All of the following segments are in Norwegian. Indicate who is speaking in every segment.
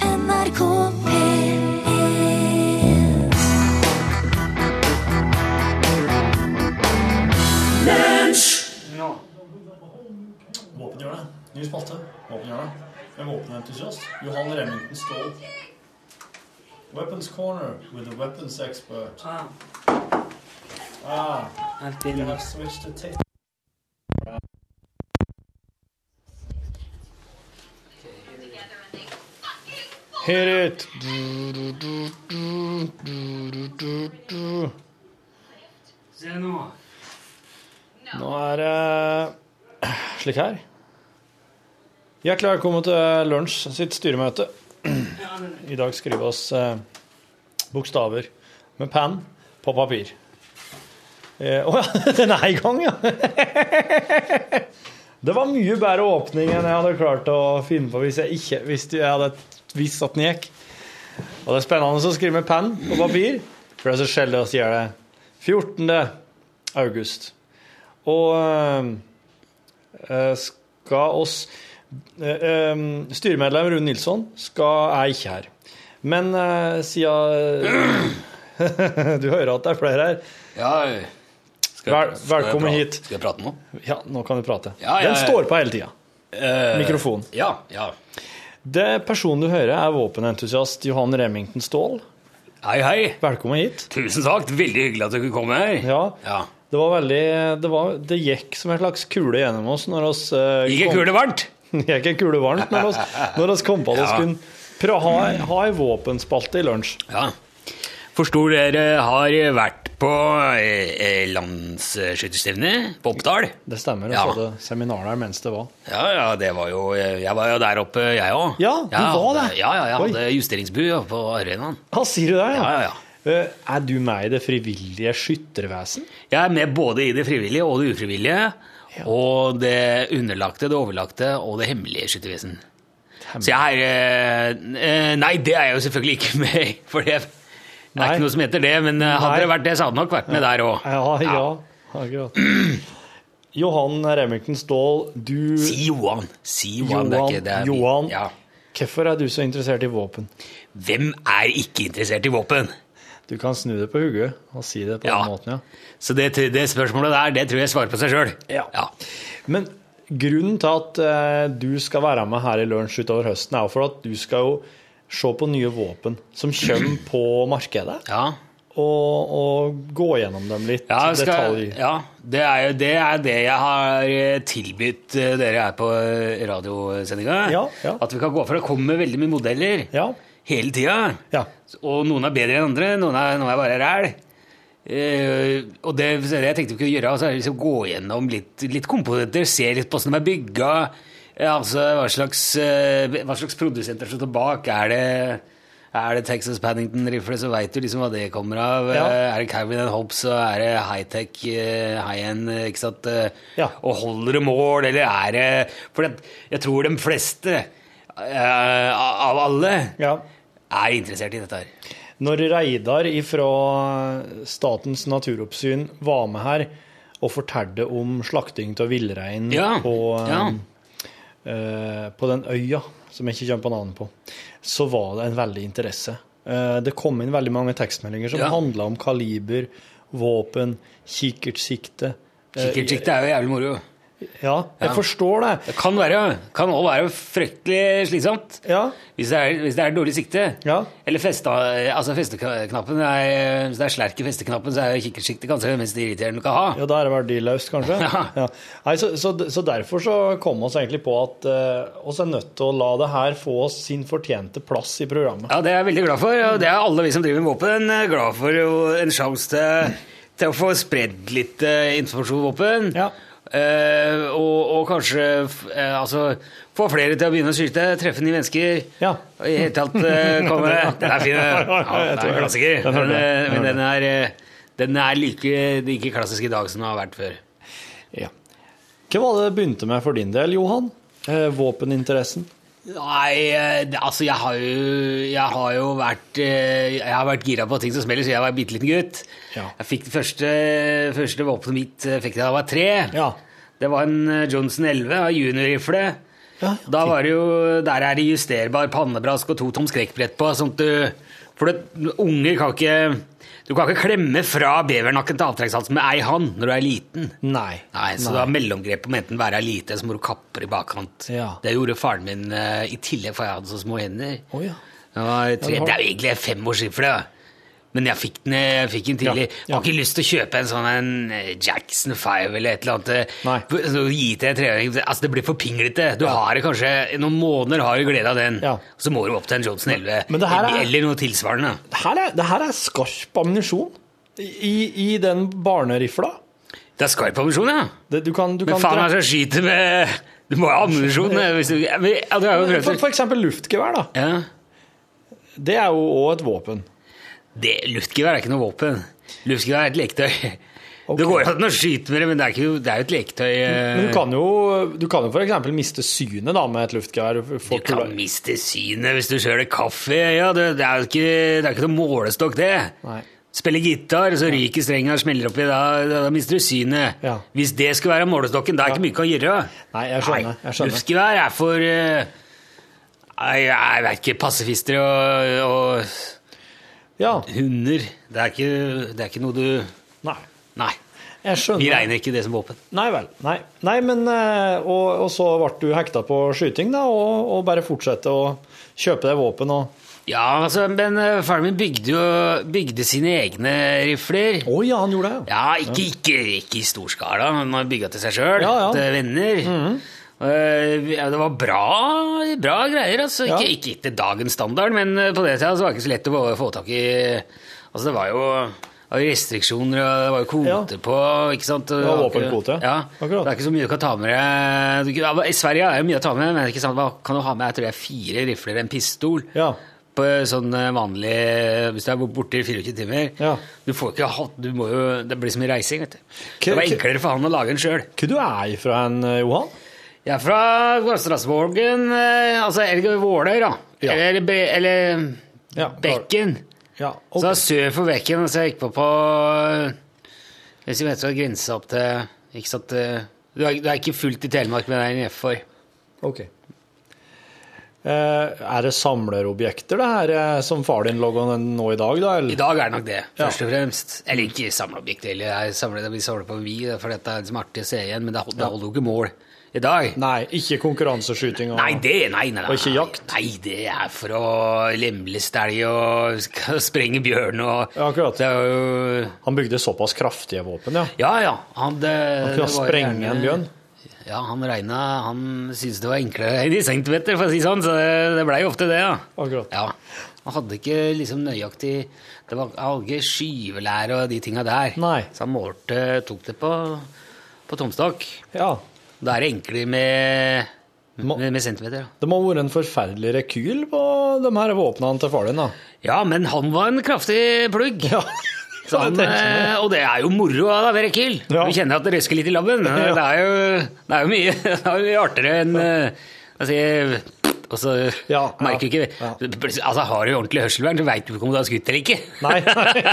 Speaker 1: NRK P1
Speaker 2: Ja. Våpenhjørnet. Ny spalte. Våpenhjørnet. Med våpenentusiast Johan Remington Ståhl. Weapons corner with a weapons expert.
Speaker 3: Ah,
Speaker 2: Ah,
Speaker 3: I've
Speaker 2: we
Speaker 3: been
Speaker 2: have switched to tape. Hit it! Du, du, du, du, du, du, du, du.
Speaker 3: Se nå.
Speaker 2: Nå er det slik her. Hjertelig velkommen til eh, Lunsj sitt styremøte.
Speaker 3: Ja, den er
Speaker 2: I dag skriver vi oss eh, bokstaver med penn på papir. Å eh, å ja, den er i gang, ja! Det var mye bedre åpning enn jeg hadde klart å finne på hvis jeg ikke hvis jeg hadde visst at den gikk. Og det er spennende å skrive med penn på papir, for det er så sjelden vi gjør det. 14. august. Og eh, eh, skal oss Eh, eh, Styremedlem Rune Nilsson skal, er ikke her. Men eh, siden Du hører at det er flere her.
Speaker 4: Ja, jeg- skal jeg-
Speaker 2: Vel-
Speaker 4: skal jeg
Speaker 2: velkommen
Speaker 4: prate-
Speaker 2: hit.
Speaker 4: Skal jeg prate nå?
Speaker 2: Ja, nå kan vi prate.
Speaker 4: Ja, ja,
Speaker 2: Den
Speaker 4: ja.
Speaker 2: står på hele tida.
Speaker 4: Eh,
Speaker 2: Mikrofon.
Speaker 4: Ja, ja.
Speaker 2: Det personen du hører, er våpenentusiast Johan Remington Ståhl.
Speaker 4: Hei, hei.
Speaker 2: Velkommen hit.
Speaker 4: Tusen takk. Veldig hyggelig at dere kom her.
Speaker 2: Ja,
Speaker 4: Ja.
Speaker 2: det var veldig Det, var, det gikk som en slags kule gjennom oss når oss eh,
Speaker 4: Gikk en
Speaker 2: kom-
Speaker 4: kule varmt?
Speaker 2: gikk en kule varmt når oss, når oss kom på at vi
Speaker 4: Ja.
Speaker 2: skulle prøve å ha, ha ei våpenspalte i lunsj.
Speaker 4: Ja. Forstår dere har vært på eh, eh, landsskytterstevne på Oppdal?
Speaker 2: Det stemmer. Vi
Speaker 4: Ja.
Speaker 2: hadde seminar der mens det var.
Speaker 4: Ja, ja, det var jo Jeg var jo der oppe, jeg òg.
Speaker 2: Ja, du var det.
Speaker 4: Ja, ja, jeg
Speaker 2: Oi.
Speaker 4: hadde justeringsbu oppe på arenaen.
Speaker 2: Ja, sier du det?
Speaker 4: Ja, ja, ja.
Speaker 2: Eh, Er du med i det frivillige skyttervesen?
Speaker 4: Jeg er med både i det frivillige og det ufrivillige. Og det underlagte, det overlagte og det hemmelige skyttervesen. Så jeg er eh, eh, Nei, det er jeg jo selvfølgelig ikke med i, for det er
Speaker 2: Nei.
Speaker 4: ikke noe som heter det. Men eh,
Speaker 2: Nei.
Speaker 4: hadde det vært det, så hadde jeg nok vært med der òg.
Speaker 2: Ja, ja, akkurat. Johan Remington Ståhl, du
Speaker 4: Si Johan. Si Johan. det er ikke, det er min-
Speaker 2: Johan,
Speaker 4: Ja.
Speaker 2: hvorfor er du så interessert i våpen?
Speaker 4: Hvem er ikke interessert i våpen?
Speaker 2: Du kan snu det på hodet og si det på
Speaker 4: Ja.
Speaker 2: den måten, ja.
Speaker 4: Så det, det spørsmålet der, det tror jeg svarer på seg sjøl.
Speaker 2: Ja. Men grunnen til at eh, du skal være med her i lunsj utover høsten, er jo for at du skal jo se på nye våpen som kommer på markedet,
Speaker 4: ja.
Speaker 2: og, og gå gjennom dem litt
Speaker 4: Ja, jeg skal,
Speaker 2: detalj.
Speaker 4: ja det, er jo, det er det jeg har eh, tilbudt eh, dere her på eh, radiosendinga.
Speaker 2: Ja, ja.
Speaker 4: At vi kan gå for det kommer veldig mye modeller
Speaker 2: Ja,
Speaker 4: hele tida.
Speaker 2: ja.
Speaker 4: Og noen er bedre enn andre, noen er, noen er bare ræl. Eh, og det, så det jeg tenkte vi kunne gjøre, altså, er liksom gå gjennom litt, litt komponenter, se litt på hvordan de er bygga. eh, altså, hva, slags, eh, hva slags produsenter som står bak. Er det, er det Texas Paddington Rifle, så veit du liksom hva det kommer av.
Speaker 2: Ja.
Speaker 4: Eh, er det Calvin and Hobbes, så er det high-tech, eh, high-end, eh, ikke sant. eh,
Speaker 2: Ja.
Speaker 4: Og holder det mål, eller er det For det, jeg tror de fleste eh, av alle
Speaker 2: ja.
Speaker 4: er interessert i dette her.
Speaker 2: Når Reidar fra Statens naturoppsyn var med her og fortalte om slakting av villrein
Speaker 4: Ja,
Speaker 2: på,
Speaker 4: ja.
Speaker 2: eh, på den øya, som jeg ikke kommer på navnet på, så var det en veldig interesse. Eh, det kom inn veldig mange tekstmeldinger som
Speaker 4: Ja.
Speaker 2: handla om kaliber, våpen, kikkertsikte. eh,
Speaker 4: Kikkertsikte er jo jævlig moro.
Speaker 2: ja, jeg
Speaker 4: Ja.
Speaker 2: forstår det.
Speaker 4: Det kan være, kan også være fryktelig slitsomt
Speaker 2: Ja,
Speaker 4: hvis det er, hvis det er dårlig sikte.
Speaker 2: Ja.
Speaker 4: Eller festa, altså festeknappen er, Hvis det er slerk i festeknappen, så er jo kikkertsikte kanskje det mest irriterende du kan ha.
Speaker 2: Ja, da er det verdiløst, kanskje.
Speaker 4: Ja.
Speaker 2: Ja. Nei, så, så, så derfor så kom oss egentlig på at eh, oss er nødt til å la det her få oss sin fortjente plass i programmet.
Speaker 4: Ja, det er jeg veldig glad for, og det er alle vi som driver med våpen eh, glad for. Jo, en sjanse til, til å få spredd litt eh, informasjon om våpen.
Speaker 2: Ja.
Speaker 4: Eh, og, og kanskje f- eh, altså, få flere til å begynne å skyte, treffe nye mennesker.
Speaker 2: Ja.
Speaker 4: Og I hele tatt eh, kan det Den er fin. eh. Ja, den er en klassiker.
Speaker 2: Den hører
Speaker 4: Men, eh,
Speaker 2: jeg.
Speaker 4: men den er, eh, den er like, like klassisk i dag som den har vært før.
Speaker 2: Ja. Hva var det det begynte med for din del, Johan? Eh, våpeninteressen?
Speaker 4: Nei, eh, det- altså jeg har jo, jeg har jo vært, eh, jeg har vært gira på ting som smeller, så jeg var en bitte liten gutt.
Speaker 2: Ja.
Speaker 4: Jeg fikk det første, første våpenet mitt eh, fikk jeg da jeg var tre.
Speaker 2: Ja.
Speaker 4: Det var en eh, Johnson 11 av juniorrifle.
Speaker 2: Ja,
Speaker 4: Da var det jo, Der er det justerbar pannebrask og to tom skrekkbrett på. sånn at du, for det, unger kan ikke Du kan ikke klemme fra bevernakken til avtrekksansen med ei hånd når du er liten.
Speaker 2: Nei.
Speaker 4: Nei, Så da mellomgrepet må enten være lite, så må du kappe det i bakkant.
Speaker 2: Ja.
Speaker 4: Det gjorde faren min eh, i tillegg, for jeg hadde så små hender.
Speaker 2: Å, ja.
Speaker 4: Det var tre,
Speaker 2: Ja, du har-
Speaker 4: det er jo egentlig fem år siden for det. Men jeg fikk den, jeg fikk den tidlig.
Speaker 2: Ja,
Speaker 4: Jeg
Speaker 2: ja.
Speaker 4: Har ikke lyst til å kjøpe en sånn en eh, Jackson 5 eller et eller annet. eh,
Speaker 2: Nei.
Speaker 4: For- Så gi til en treåring. Altså, det blir for pinglete. Du har det kanskje i noen måneder, har du glede av den.
Speaker 2: Ja.
Speaker 4: Så må du opp til en Johnson 11
Speaker 2: Men det her er-
Speaker 4: eller noe tilsvarende.
Speaker 2: Det her er, det her er skarp ammunisjon i, i- i den barnerifla.
Speaker 4: Det er skarp ammunisjon, ja.
Speaker 2: Det, du kan, du
Speaker 4: Men
Speaker 2: kan
Speaker 4: faen,
Speaker 2: dra-
Speaker 4: altså, skyter med Du må ha ammunisjon. eh, hvis du- Ja, men- ja, du har jo prøvd
Speaker 2: for,
Speaker 4: det.
Speaker 2: for eksempel luftgevær, da.
Speaker 4: Ja.
Speaker 2: Det er jo òg et våpen.
Speaker 4: Det, luftgevær er ikke noe våpen. Luftgevær er et leketøy.
Speaker 2: Ok.
Speaker 4: Det går an å skyte med det, men det er, ikke, noe- det er jo et leketøy. eh,
Speaker 2: Men du kan jo, du kan jo f.eks. miste synet da med et luftgevær. Du får
Speaker 4: Du kan
Speaker 2: kula-
Speaker 4: miste synet hvis du kjøler kaffe. Ja, det, det er jo ikke, det er ikke noe målestokk, det.
Speaker 2: Nei.
Speaker 4: Spiller gitar, så ryker strenga og smeller oppi. Da, da, da mister du synet.
Speaker 2: Ja.
Speaker 4: Hvis det skulle være målestokken, da er det ikke mye å gjøre.
Speaker 2: Nei, jeg skjønner. Jeg skjønner.
Speaker 4: Luftgevær er for eh, Nei, jeg vet ikke. Pasifister og, og
Speaker 2: Ja.
Speaker 4: hunder. Det er, ikke, det er ikke noe du
Speaker 2: Nei.
Speaker 4: Nei.
Speaker 2: Jeg
Speaker 4: Vi
Speaker 2: skjønner.
Speaker 4: regner ikke det som våpen.
Speaker 2: Nei vel. Nei, Nei men eh, og, og så ble du hekta på skyting, da, og, og bare fortsette å kjøpe deg våpen og
Speaker 4: Ja, altså, men eh, faren min bygde jo bygde sine egne rifler.
Speaker 2: Å ja, han gjorde det, ja.
Speaker 4: Ja, ikke, ikke, ikke i stor skala, men man bygga til seg sjøl,
Speaker 2: Ja, Mhm. ja.
Speaker 4: til venner. Eh, vi- ja, Det var bra, bra greier. altså.
Speaker 2: Ja.
Speaker 4: Ikke, ikke etter dagens standard, men eh, på det tida så var det ikke så lett å få tak i Altså, det var jo det var jo restriksjoner, og det var jo kvoter på ikke sant? Det
Speaker 2: var
Speaker 4: ikke-
Speaker 2: våpenkvote,
Speaker 4: Ja.
Speaker 2: akkurat.
Speaker 4: Det er ikke så mye du kan ta med deg. Du- ja, I Sverige er det mye å ta med, men ikke sant? hva kan du ha med? Jeg tror det er fire rifler og en pistol.
Speaker 2: Ja.
Speaker 4: På sånn eh, vanlig Hvis du er borte i 24 timer
Speaker 2: Ja.
Speaker 4: Du får ikke ha du må jo, Det blir så mye reising, vet du.
Speaker 2: K-
Speaker 4: det var
Speaker 2: k-
Speaker 4: enklere for han å lage en sjøl.
Speaker 2: Hvor du er ifra hen, Johan?
Speaker 4: Jeg er fra Gastrassvågen eh, Altså eller Våler, da.
Speaker 2: Ja.
Speaker 4: Eller, be, eller mm,
Speaker 2: Ja,
Speaker 4: Bekken.
Speaker 2: Ja,
Speaker 4: Så
Speaker 2: ok.
Speaker 4: det er sør for Bekken, så jeg gikk på på eh, Hvis vi vet hva grensa opp til Ikke sant eh, Du er, du er ikke fullt i Telemark, men det er nedfor.
Speaker 2: Ok. Eh, er det samlerobjekter, det her, eh, som far din lå an nå i dag, da?
Speaker 4: I
Speaker 2: Eller?
Speaker 4: dag er det nok det,
Speaker 2: Ja.
Speaker 4: først og fremst. Eller ikke samleobjekt heller. Jeg samler, vi samler på en vi, for dette er liksom artig å se igjen, men det, hold- det holder jo ikke mål i dag.
Speaker 2: Nei, ikke konkurranseskyting og
Speaker 4: Nei, det, nei, nei, nei.
Speaker 2: Og ikke jakt?
Speaker 4: Nei, det er for å lemleste elg og sk- sprenge bjørn og
Speaker 2: Ja, akkurat.
Speaker 4: Det er jo
Speaker 2: Han bygde såpass kraftige våpen, ja.
Speaker 4: Ja, ja. Han, eh, det,
Speaker 2: Han kunne
Speaker 4: det var
Speaker 2: sprenge
Speaker 4: gjerne-
Speaker 2: en bjørn.
Speaker 4: Ja, han regna Han syntes det var enklere enn i centimeter, for å si sånn, så det, det blei jo ofte det, ja.
Speaker 2: Akkurat.
Speaker 4: Ja. Han hadde ikke liksom nøyaktig Det var han hadde ikke skyvelære og de tinga der.
Speaker 2: Nei.
Speaker 4: Så han målte, tok det på, på tomstokk.
Speaker 2: Ja.
Speaker 4: Da er det enklere med,
Speaker 2: Må-
Speaker 4: med, med centimeter. da.
Speaker 2: Det må ha vært en forferdelig rekyl på de her våpnene til far din, da.
Speaker 4: Ja, men han var en kraftig plugg.
Speaker 2: Ja.
Speaker 4: Så han,
Speaker 2: det tenker jeg.
Speaker 4: eh, og det er jo moro da, ved rekyl.
Speaker 2: Ja.
Speaker 4: Du kjenner at det røsker litt i labben.
Speaker 2: Ja.
Speaker 4: Det, er jo, det er jo mye, det er jo mye artigere enn eh, hva sier jeg, og så
Speaker 2: Ja,
Speaker 4: merker du
Speaker 2: ja,
Speaker 4: ikke
Speaker 2: ja.
Speaker 4: Altså, Har du ordentlig hørselvern, så veit du ikke om du har skutt eller ikke.
Speaker 2: Nei,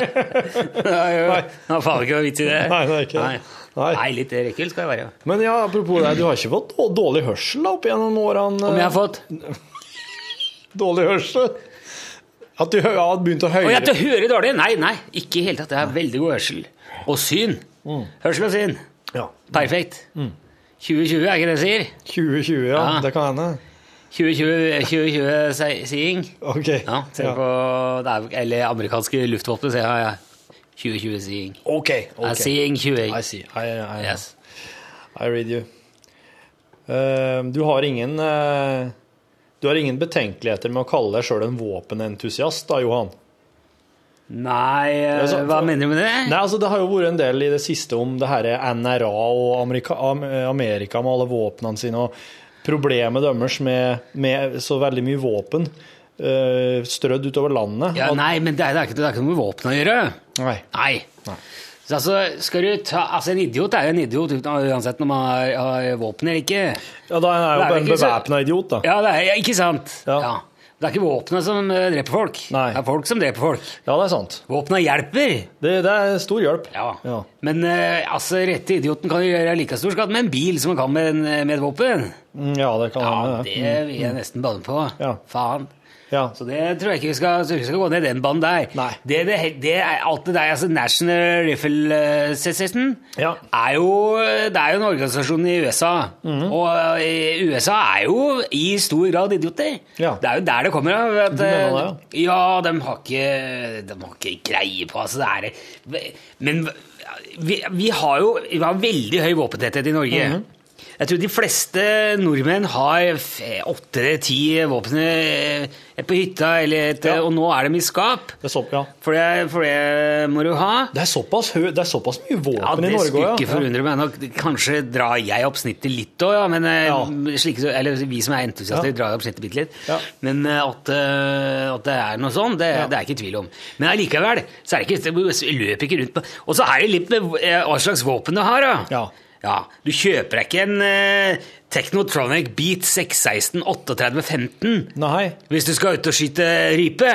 Speaker 4: det er jo
Speaker 2: Nei.
Speaker 4: det er faen ikke noe vits i det.
Speaker 2: Nei, det er ikke det.
Speaker 4: Nei.
Speaker 2: Nei.
Speaker 4: Nei, litt rekyl skal jeg være.
Speaker 2: Men ja, apropos det, du har ikke fått då- dårlig hørsel da, opp gjennom årene?
Speaker 4: Om jeg har fått
Speaker 2: Dårlig hørsel? At du hø- har begynt å
Speaker 4: Å,
Speaker 2: høre
Speaker 4: jeg til å høre dårlig? Nei, nei, ikke i det hele tatt. Jeg har veldig god hørsel. Og syn. Hørsel og syn.
Speaker 2: Mm. Ja. Mm.
Speaker 4: Perfekt. 2020, er ikke det jeg sier?
Speaker 2: 2020, ja.
Speaker 4: Ja.
Speaker 2: Det kan hende.
Speaker 4: 2020, 2020 se- seeing.
Speaker 2: Ok.
Speaker 4: Ja, se på det er, Eller amerikanske luftvåpen, sier jeg. 2020 seeing.
Speaker 2: Ok.
Speaker 4: Okay.
Speaker 2: ok.
Speaker 4: Seeing 20.
Speaker 2: I see. I, I,
Speaker 4: Yes.
Speaker 2: I read you. Eh, du har ingen eh, Du har ingen betenkeligheter med å kalle deg sjøl en våpenentusiast, da, Johan?
Speaker 4: Nei, eh,
Speaker 2: Altså,
Speaker 4: hva
Speaker 2: for-
Speaker 4: mener du med det?
Speaker 2: Nei, altså Det har jo vært en del i det siste om det her NRA og Amerika, Am- Amerika med alle våpnene sine og problemet deres med, med så veldig mye våpen eh, strødd utover landet.
Speaker 4: Ja,
Speaker 2: At-
Speaker 4: nei, men det er, det, er ikke, det er ikke noe med våpen å gjøre.
Speaker 2: Nei.
Speaker 4: Nei. Så altså, skal du ta, altså, En idiot er jo en idiot uten- uansett om man har, har våpen eller ikke.
Speaker 2: Ja, da er jeg jo
Speaker 4: Det er
Speaker 2: bare
Speaker 4: jo
Speaker 2: en
Speaker 4: ikke så-
Speaker 2: bevæpna idiot, da.
Speaker 4: Ja, det er, ja ikke sant?
Speaker 2: Ja.
Speaker 4: Ja. Det er ikke våpenet som eh, dreper folk.
Speaker 2: Nei.
Speaker 4: Det er folk som dreper folk.
Speaker 2: Ja, det er sant.
Speaker 4: Våpna hjelper!
Speaker 2: Det, det er stor hjelp.
Speaker 4: Ja.
Speaker 2: Ja.
Speaker 4: Men eh, altså, rette idioten kan jo gjøre like stor skatt med en bil som han kan med, en, med et våpen.
Speaker 2: Mm, Ja, det kan
Speaker 4: Ja,
Speaker 2: hende.
Speaker 4: det vil jeg nesten banne på.
Speaker 2: Ja.
Speaker 4: Faen.
Speaker 2: Ja.
Speaker 4: Så det tror jeg ikke vi skal, tror jeg ikke vi skal gå ned den banen der.
Speaker 2: Nei.
Speaker 4: Det, det, det er alt det der, altså National Rifle Association
Speaker 2: Ja.
Speaker 4: er jo, det er jo en organisasjon i USA.
Speaker 2: Mhm.
Speaker 4: Og eh, USA er jo i stor grad idioter.
Speaker 2: Ja.
Speaker 4: Det er jo der det kommer av. At,
Speaker 2: Du mener det,
Speaker 4: eh, ja, de har ikke, de har ikke greie på altså, det er, Men vi, vi har jo vi har veldig høy våpentetthet i Norge. Jeg tror de fleste nordmenn har f- åtte eller ti våpen eh, på hytta, eller et,
Speaker 2: Ja.
Speaker 4: og nå er de i skap.
Speaker 2: Det, er så, ja.
Speaker 4: For det, for det må du ha.
Speaker 2: det, er såpass hø, det er såpass mye våpen
Speaker 4: Ja,
Speaker 2: i
Speaker 4: det
Speaker 2: Norge
Speaker 4: skulle
Speaker 2: også,
Speaker 4: ikke forundre meg nok. Kanskje drar jeg opp snittet litt òg, ja, men eh,
Speaker 2: Ja.
Speaker 4: slike, eller vi som er entusiaster,
Speaker 2: Ja.
Speaker 4: drar opp snittet bitte litt.
Speaker 2: Ja.
Speaker 4: Men eh, at, eh, at det er noe sånn, det,
Speaker 2: Ja.
Speaker 4: det er ikke tvil om. Men allikevel, så er det ikke, du løper ikke rundt med Og så er det litt med eh, hva slags våpen du har, da.
Speaker 2: Ja.
Speaker 4: Ja, Du kjøper deg ikke en eh, Technotronic Beat 616 3815
Speaker 2: Nei.
Speaker 4: hvis du skal ut og skyte rype.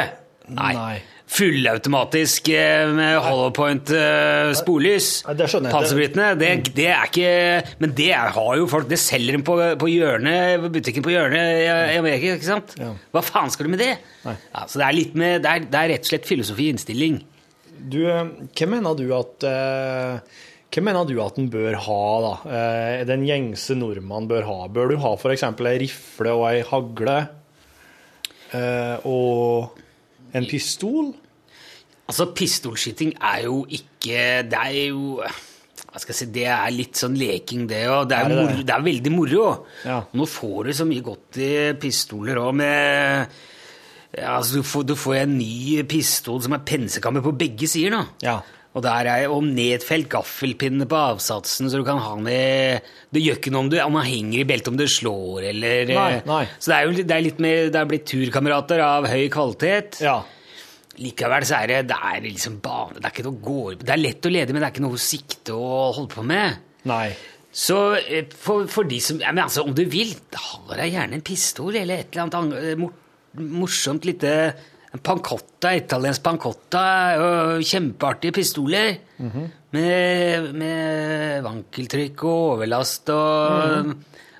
Speaker 4: Nei.
Speaker 2: Nei.
Speaker 4: Fullautomatisk eh, med hollow point eh, sporlys.
Speaker 2: Nei, det skjønner jeg. Mm.
Speaker 4: Panserbrytende. Det, det er ikke Men det er- har jo folk. Det selger de på, på hjørnet, på butikken på hjørnet i, i Amerika, ikke sant?
Speaker 2: Ja.
Speaker 4: Hva faen skal du med det?
Speaker 2: Nei.
Speaker 4: Ja, så det er, litt med, det, er, det er rett og slett filosofi og innstilling.
Speaker 2: Du, eh, hvem mener du at eh, Hvem mener du at den bør ha, da? Eh, den gjengse nordmann bør ha. Bør du ha f.eks. ei rifle og ei hagle? eh, og en pistol?
Speaker 4: Altså, pistolskyting er jo ikke Det er jo hva skal jeg si, Det er litt sånn leking, det òg. Det, er
Speaker 2: Er det
Speaker 4: moro-
Speaker 2: det?
Speaker 4: det er veldig moro.
Speaker 2: Ja.
Speaker 4: Nå får du så mye godt i pistoler òg, med ja, altså, du, får, du får en ny pistol som er pensekammer på begge sider nå.
Speaker 2: Ja.
Speaker 4: Og der er jo nedfelt gaffelpinne på avsatsen, så du kan ha den i Det gjør ikke noe om, du, om den henger i beltet, om du slår eller eh,
Speaker 2: Nei, nei.
Speaker 4: Så det er jo det er litt mer Det er blitt turkamerater av høy kvalitet.
Speaker 2: Ja.
Speaker 4: Likevel så er det, det er liksom bane, det er ikke noe å gå Det er lett å lede, men det er ikke noe sikte å holde på med.
Speaker 2: Nei.
Speaker 4: Så eh, for, for de som ja, Men altså, om du vil, ha deg gjerne en pistol eller et eller annet ang- eh, mor, morsomt lite en pancotta, italiensk pancotta, og kjempeartige pistoler med, med vankeltrykk og overlast og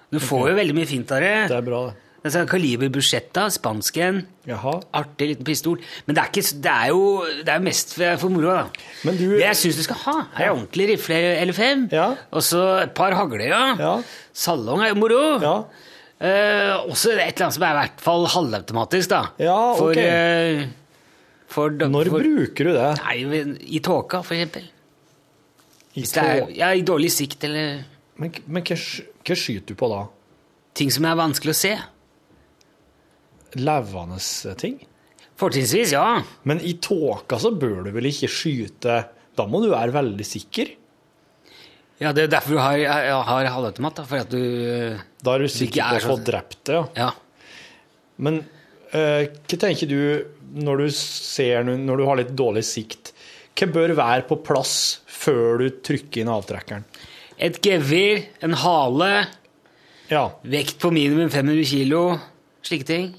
Speaker 4: Du får jo veldig mye fint av det.
Speaker 2: Det er bra, det.
Speaker 4: Altså, Kaliber Buchetta, spansken.
Speaker 2: Jaha.
Speaker 4: Artig liten pistol. Men det er, ikke, det er jo det er mest for, for moro, da.
Speaker 2: Men du
Speaker 4: Det jeg syns du skal ha, er ordentlig rifle eller fem.
Speaker 2: Ja.
Speaker 4: Og så et par hagler, ja.
Speaker 2: Ja.
Speaker 4: Salong er jo moro.
Speaker 2: Ja.
Speaker 4: Eh, også et eller annet som er i hvert fall halvautomatisk, da.
Speaker 2: Ja,
Speaker 4: for,
Speaker 2: ok.
Speaker 4: eh, for,
Speaker 2: Når
Speaker 4: for,
Speaker 2: bruker du det?
Speaker 4: Nei, men I tåka, for eksempel.
Speaker 2: I
Speaker 4: Hvis det er,
Speaker 2: tå-
Speaker 4: ja, I dårlig sikt, eller
Speaker 2: Men, men hva, sky- hva skyter du på da?
Speaker 4: ting som er vanskelig å se.
Speaker 2: Levende ting?
Speaker 4: Fortrinnsvis, ja.
Speaker 2: Men i tåka så bør du vel ikke skyte Da må du være veldig sikker.
Speaker 4: ja. Det er derfor du har, har halvautomat, da. For at du
Speaker 2: Da er du
Speaker 4: ikke
Speaker 2: sikker på
Speaker 4: er
Speaker 2: å få
Speaker 4: så-
Speaker 2: drept det, ja.
Speaker 4: Ja.
Speaker 2: Men eh, hva tenker du når du ser no- Når du har litt dårlig sikt? Hva bør være på plass før du trykker inn avtrekkeren?
Speaker 4: Et gevir, en hale,
Speaker 2: Ja.
Speaker 4: vekt på minimum 500 kilo, slike ting.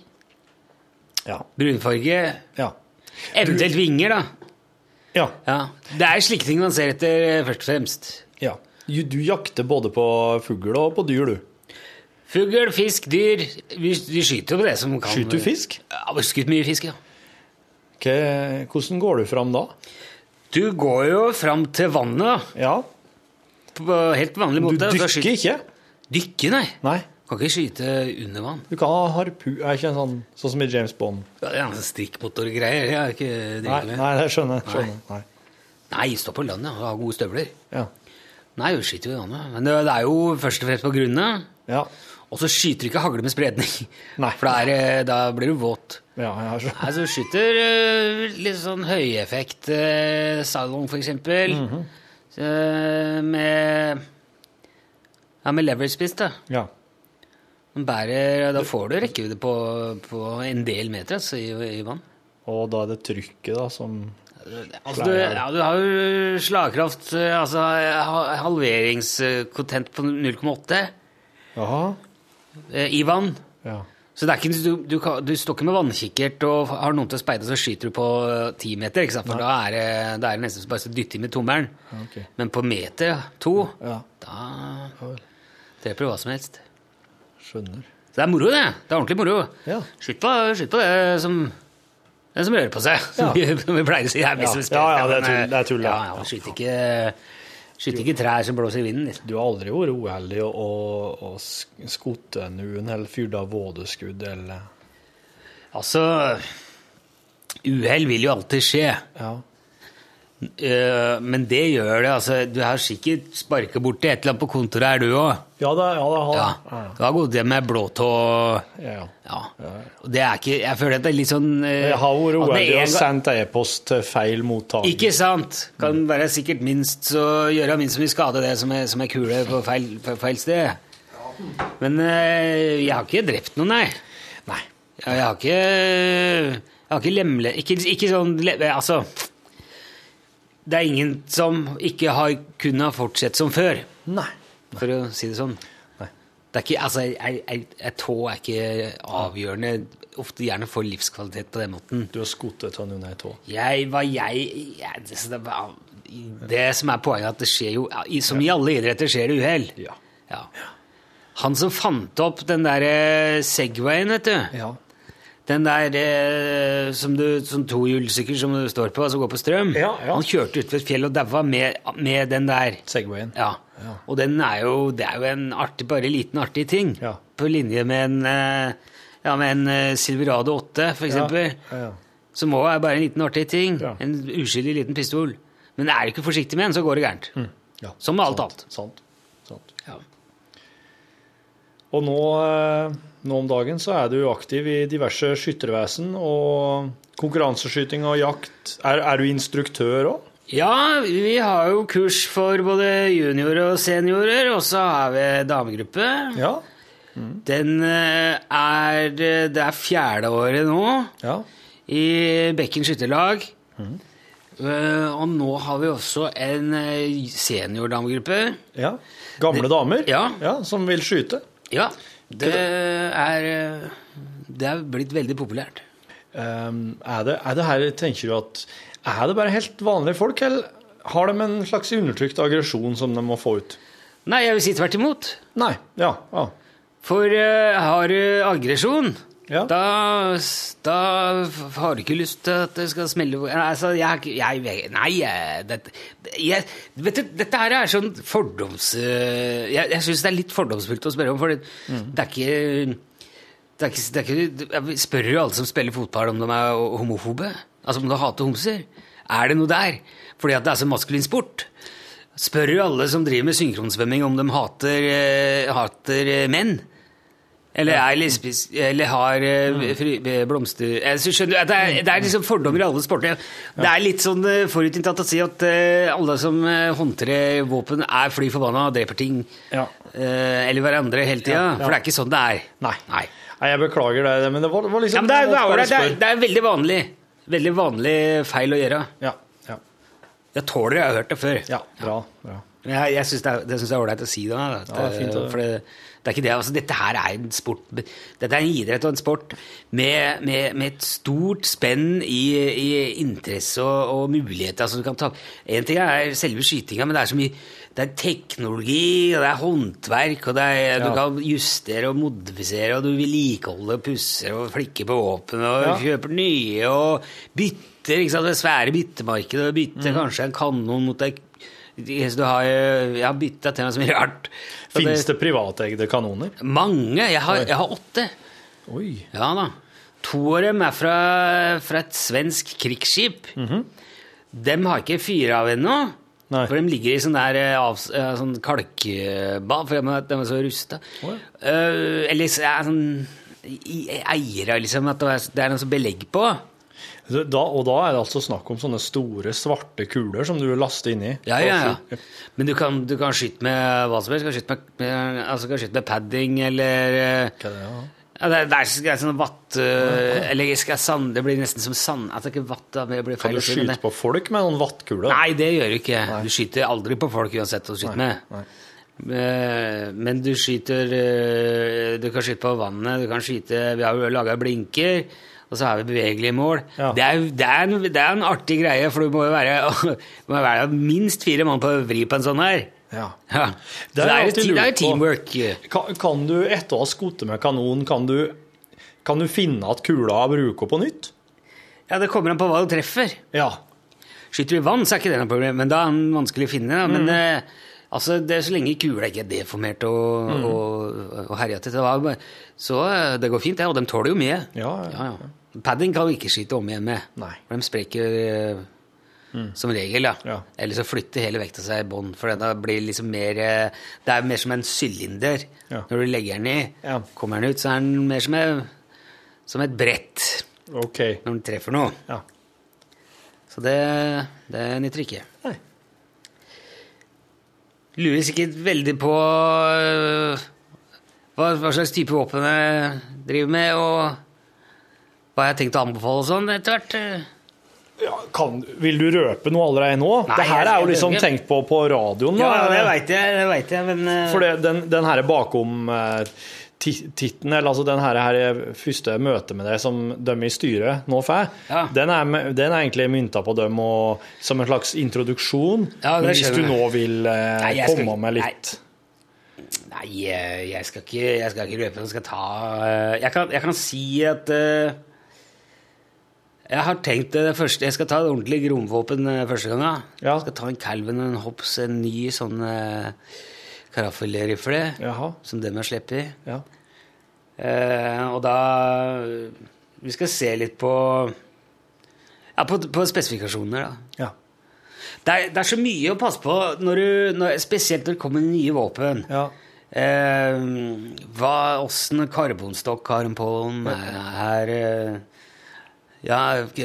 Speaker 2: Ja.
Speaker 4: Brunfarge.
Speaker 2: Ja.
Speaker 4: Eventuelt vinger, da.
Speaker 2: ja.
Speaker 4: Ja. Det er slike ting man ser etter, eh, først og fremst.
Speaker 2: ja. Du, du jakter både på fugl og på dyr, du.
Speaker 4: Fugl, fisk, dyr. Vi, vi skyter jo på det som kan
Speaker 2: Skyter du fisk?
Speaker 4: Ja, vi har skutt mye fisk, ja.
Speaker 2: Hva, hvordan går du fram da?
Speaker 4: Du går jo fram til vannet
Speaker 2: Ja.
Speaker 4: da, på helt vanlig
Speaker 2: Du
Speaker 4: måte. og så
Speaker 2: dykker
Speaker 4: skyter-
Speaker 2: ikke?
Speaker 4: Dykke, nei.
Speaker 2: Nei.
Speaker 4: Kan ikke skyte under vann.
Speaker 2: Du kan ha harpu... Er ikke en sånn, sånn som i James Bond?
Speaker 4: Ja, det er sånn noen strikkmotorgreier. Jeg har ikke
Speaker 2: Nei,
Speaker 4: drevet med.
Speaker 2: nei det skjønner jeg. Skjønner. jeg. Nei.
Speaker 4: Nei, stå på landet og ha gode støvler.
Speaker 2: Ja.
Speaker 4: Nei, du skyter jo i vannet. Men det, det er jo først og fremst på grunnet.
Speaker 2: Ja.
Speaker 4: Og så skyter du ikke hagle med spredning,
Speaker 2: Nei.
Speaker 4: for da, er, det- da blir du våt.
Speaker 2: ja jeg har skjønt.
Speaker 4: Nei, så du skyter eh, litt sånn høyeffekt eh, salong, for eksempel, Så, eh, med, ja, med leverspiss, da.
Speaker 2: Ja.
Speaker 4: Den bærer, da får du rekkevidde på, på en del meter altså, i, i vann.
Speaker 2: Og da er det trykket da som
Speaker 4: Altså, du, ja, du har jo slagkraft, eh, altså ha- halveringskontent på 0,8
Speaker 2: Jaha.
Speaker 4: eh, i vann.
Speaker 2: Ja.
Speaker 4: Så det er ikke, du, du, kan- du står ikke med vannkikkert og har noen til å speide, så skyter du på eh, ti meter. ikke sant? For da er det, da er det nesten så bare så dytter med tommelen.
Speaker 2: Ok.
Speaker 4: Men på meter to,
Speaker 2: Ja.
Speaker 4: da dreper du hva som helst.
Speaker 2: Skjønner.
Speaker 4: Så det er moro, det. Det er ordentlig moro.
Speaker 2: Ja.
Speaker 4: Skyt, på, skyt på det som den som rører på seg, som,
Speaker 2: Ja.
Speaker 4: vi, som vi pleier å si. Det er
Speaker 2: Ja.
Speaker 4: misforstått,
Speaker 2: Ja, ja, det er
Speaker 4: men, eh,
Speaker 2: tull- det er tull,
Speaker 4: Ja,
Speaker 2: ja.
Speaker 4: ja, skyt ikke, skyt ikke trær som blåser i vinden. Liksom.
Speaker 2: Du har aldri vært uheldig og, og, og sk- skutt noen eller fyrt av vådeskudd eller
Speaker 4: Altså, uhell vil jo alltid skje.
Speaker 2: Ja.
Speaker 4: Eh, men det gjør det. altså, Du har sikkert sparka borti et eller annet på kontoret, er du òg.
Speaker 2: Ja da, ja da.
Speaker 4: Ja.
Speaker 2: Ha.
Speaker 4: Du har gått hjem med blåtå
Speaker 2: Ja, ja.
Speaker 4: ja. Og det er ikke Jeg føler at det er litt sånn eh,
Speaker 2: Jeg har vært
Speaker 4: at det
Speaker 2: uheldig
Speaker 4: en
Speaker 2: og
Speaker 4: gang-
Speaker 2: sendt e-post til feil mottaker.
Speaker 4: Ikke sant? Kan være sikkert minst så gjøre minst mye skade det som er, som er kule på feil, på feil sted. Men eh, jeg har ikke drept noen, nei. Nei. Jeg har ikke Jeg har ikke lemle... Ikke, ikke sånn le- Altså Det er ingen som ikke har kunnet fortsette som før,
Speaker 2: Nei.
Speaker 4: for å si det sånn.
Speaker 2: Nei.
Speaker 4: Det er ikke, altså, jeg, jeg, jeg tå er ikke avgjørende, ofte gjerne for livskvalitet på den måten.
Speaker 2: Du har skutt et av noen i tå.
Speaker 4: Jeg, hva jeg, jeg det, det, var- det som er poenget, er at det skjer jo i- Som i alle idretter skjer det uhell.
Speaker 2: Ja.
Speaker 4: Ja. Han som fant opp den der eh, Segwayen, vet du.
Speaker 2: Ja.
Speaker 4: Den der eh, som du, som tohjulssykkel som du står på, som går på strøm.
Speaker 2: Ja, ja.
Speaker 4: Han kjørte utfor et fjell og daua med, med den der.
Speaker 2: Segwayen.
Speaker 4: Ja. Og den er jo, det er jo en artig, bare liten artig ting.
Speaker 2: Ja.
Speaker 4: På linje med en, eh, ja, med en eh, Silverado 8, for eksempel.
Speaker 2: Ja, ja.
Speaker 4: Som òg er bare en liten artig ting.
Speaker 2: Ja.
Speaker 4: En uskyldig liten pistol. Men er du ikke forsiktig med den, så går det gærent.
Speaker 2: Mm. Ja.
Speaker 4: Som med alt
Speaker 2: Sant,
Speaker 4: annet.
Speaker 2: Sant. Sant.
Speaker 4: Ja.
Speaker 2: Og nå, eh, nå om dagen så er du aktiv i diverse skyttervesen og konkurranseskyting og jakt. Er, er du instruktør òg?
Speaker 4: Ja, vi har jo kurs for både juniorer og seniorer, og så har vi damegruppe.
Speaker 2: Ja.
Speaker 4: Den eh, er eh, Det er fjerde året nå
Speaker 2: ja.
Speaker 4: i Bekken skytterlag.
Speaker 2: Mm.
Speaker 4: Eh, og nå har vi også en eh, seniordamegruppe.
Speaker 2: Ja. Gamle damer
Speaker 4: Ja.
Speaker 2: som vil skyte.
Speaker 4: Ja, det er eh, Det er blitt veldig populært.
Speaker 2: Ehm, er, det, er det her, tenker du at Er det bare helt vanlige folk, eller har de en slags undertrykt aggresjon som de må få ut?
Speaker 4: Nei, jeg vil si tvert imot.
Speaker 2: Nei. Ja. ja.
Speaker 4: For eh, har du aggresjon,
Speaker 2: Ja.
Speaker 4: da, da har du ikke lyst til at det skal smelle Nei, altså, jeg, har ikke- jeg Nei, jeg, dette, jeg, vet du, dette her er sånn fordoms... eh, Jeg, jeg syns det er litt fordomsfullt å spørre om, for det, det er ikke det er ikke, det er ikke, jeg spør jo alle som spiller fotball om de er homofobe. Altså om de hater homser. Er det noe der? Fordi at det er så maskulin sport. Spør jo alle som driver med synkronsvømming om de hater, eh, hater eh, menn. Eller er lesbis, eller har eh, fri, eh, blomster altså, skjønner, du, at det,
Speaker 2: Mm.
Speaker 4: er, det er liksom fordommer i alle sporter. Det er litt sånn eh, forutinntatt å si at eh, alle som eh, håndtrer våpen, er fly forbanna og dreper ting.
Speaker 2: Ja.
Speaker 4: eh, Eller hverandre hele tida.
Speaker 2: Ja, ja.
Speaker 4: For det er ikke sånn det er.
Speaker 2: Nei.
Speaker 4: Nei.
Speaker 2: Nei, jeg beklager det, men det var, var liksom
Speaker 4: Ja, men det er, det,
Speaker 2: jeg måtte
Speaker 4: er,
Speaker 2: bare
Speaker 4: ålreit. det,
Speaker 2: spørre.
Speaker 4: er, det er veldig vanlig. Veldig vanlig feil å gjøre.
Speaker 2: Ja, ja,
Speaker 4: Jeg tåler det, jeg har hørt det før.
Speaker 2: ja, bra, bra.
Speaker 4: Men Jeg, jeg synes det er- det syns jeg er ålreit å si det. da, at, eh,
Speaker 2: Ja, det er fint å-
Speaker 4: for det, det er ikke det, altså, dette her er en sport Dette er en idrett og en sport med, med, med et stort spenn i, i interesse og, og muligheter. Altså, du kan ta, en ting er selve skytinga, men det er så mye det er teknologi, og det er håndverk, og det er, du
Speaker 2: Ja.
Speaker 4: kan justere og modifisere, og du vedlikeholder og pusser og flikker på våpen, og
Speaker 2: Ja.
Speaker 4: kjøper nye og bytter. ikke sant? Det svære byttemarkedet. og Bytter
Speaker 2: Mm.
Speaker 4: kanskje en kanon mot ei så du har, jo- Jeg har bytta til meg så mye rart. Så
Speaker 2: Finnes det privateide kanoner?
Speaker 4: Mange. Jeg har, jeg har åtte.
Speaker 2: Oi.
Speaker 4: Ja da. To av dem er fra, fra et svensk krigsskip. Dem har ikke fyr av ennå.
Speaker 2: Mhm. Nei.
Speaker 4: For de ligger i sånn der eh, avs- eh, sånn kalkbad, for de er, de er så rusta.
Speaker 2: Å
Speaker 4: Eh, eller så er sånn i- i- eiere, liksom. At det er, det er noe sånn belegg på.
Speaker 2: Så Da, og da er det altså snakk om sånne store, svarte kuler som du laster inni?
Speaker 4: Ja, ja, ja. Men du kan, du kan skyte med hva som helst. Du kan skyte med, med, altså, du kan skyte med padding eller eh,
Speaker 2: Hva er det, ja?
Speaker 4: Ja, det, er, det, er, det er sånn vatt... øh, Eller jeg skal sand, det blir nesten som sand... At det ikke er vatt, da, men det blir
Speaker 2: Kan
Speaker 4: feil
Speaker 2: du
Speaker 4: å si, men
Speaker 2: skyte
Speaker 4: det-
Speaker 2: på folk med noen vattkule?
Speaker 4: Nei, det gjør du ikke. Du skyter aldri på folk uansett hva du skyter
Speaker 2: Nei,
Speaker 4: med.
Speaker 2: nei.
Speaker 4: Eh, Men du skyter eh, Du kan skyte på vannet, du kan skyte Vi har jo laga blinker, og så har vi bevegelige mål.
Speaker 2: Ja.
Speaker 4: Det, er, det, er en, det er en artig greie, for du må jo være, du må være minst fire mann på å vri på en sånn her.
Speaker 2: Ja.
Speaker 4: Ja.
Speaker 2: Det
Speaker 4: Det
Speaker 2: har
Speaker 4: er,
Speaker 2: jeg
Speaker 4: jo
Speaker 2: alltid
Speaker 4: ti- det er jo
Speaker 2: lurt på.
Speaker 4: teamwork. eh.
Speaker 2: Kan, kan du, etter å ha skutt med kanon, kan du, kan du finne at kula bruker på nytt?
Speaker 4: Ja, Det kommer an på hva du treffer.
Speaker 2: Ja.
Speaker 4: Skyter du i vann, så er ikke det noe problem, men da er den vanskelig å finne. da.
Speaker 2: Mm.
Speaker 4: Men eh, altså, det er så lenge kula ikke er deformert og,
Speaker 2: Mm.
Speaker 4: og, og herjete, det var bare- så eh, det går fint, det. Og de tåler jo mye.
Speaker 2: Ja, ja,
Speaker 4: ja, ja. Padding kan du ikke skyte om igjen med.
Speaker 2: Nei. Mm.
Speaker 4: For de spreker eh, som regel, da.
Speaker 2: Ja.
Speaker 4: Eller så flytter hele vekta seg i bånn, for da blir liksom mer eh, Det er mer som en sylinder.
Speaker 2: Ja.
Speaker 4: Når du legger den i,
Speaker 2: Ja.
Speaker 4: kommer den ut, så er den mer som, en- som et brett
Speaker 2: OK.
Speaker 4: når den treffer noe.
Speaker 2: Ja.
Speaker 4: Så det, det nytter ikke.
Speaker 2: Nei.
Speaker 4: Lurer sikkert veldig på øh, hva, hva slags type våpen jeg driver med, og hva jeg har tenkt å anbefale og sånn etter hvert. øh.
Speaker 2: Ja, kan, vil du røpe noe allerede nå?
Speaker 4: Nei,
Speaker 2: det her
Speaker 4: jeg-
Speaker 2: er jo
Speaker 4: jeg
Speaker 2: liksom
Speaker 4: behøver ikke.
Speaker 2: tenkt på på radioen.
Speaker 4: Ja,
Speaker 2: da.
Speaker 4: det veit jeg, det vet jeg, men øh,
Speaker 2: For det, den, den her bakom eh, ti- titten, eller altså den her, her første møtet med deg som de i styret nå får,
Speaker 4: Ja.
Speaker 2: den, er, me- den er egentlig mynta på dem og, som en slags introduksjon.
Speaker 4: Ja, det
Speaker 2: Men hvis
Speaker 4: skjønner
Speaker 2: du
Speaker 4: jeg.
Speaker 2: nå vil eh,
Speaker 4: Nei, jeg skal
Speaker 2: komme
Speaker 4: ikke-
Speaker 2: med
Speaker 4: nei.
Speaker 2: litt
Speaker 4: Nei, øh, jeg skal ikke, jeg skal ikke røpe noe. Jeg skal ta øh, jeg, kan, jeg kan si at øh, jeg har tenkt det første Jeg skal ta et ordentlig gromvåpen øh, første gangen.
Speaker 2: Ja.
Speaker 4: Jeg skal ta en Calvin og en Hobbs, en ny sånn øh, karaffelrifle
Speaker 2: Jaha.
Speaker 4: som dem har sluppet i.
Speaker 2: Ja.
Speaker 4: Eh, og da Vi skal se litt på Ja, på, på spesifikasjoner, da.
Speaker 2: Ja.
Speaker 4: Det er, det er så mye å passe på, når du, når, spesielt når det kommer nye våpen.
Speaker 2: Ja.
Speaker 4: Eh, hva, åssen karbonstokk har den på den? Er, er, eh, ja, ok,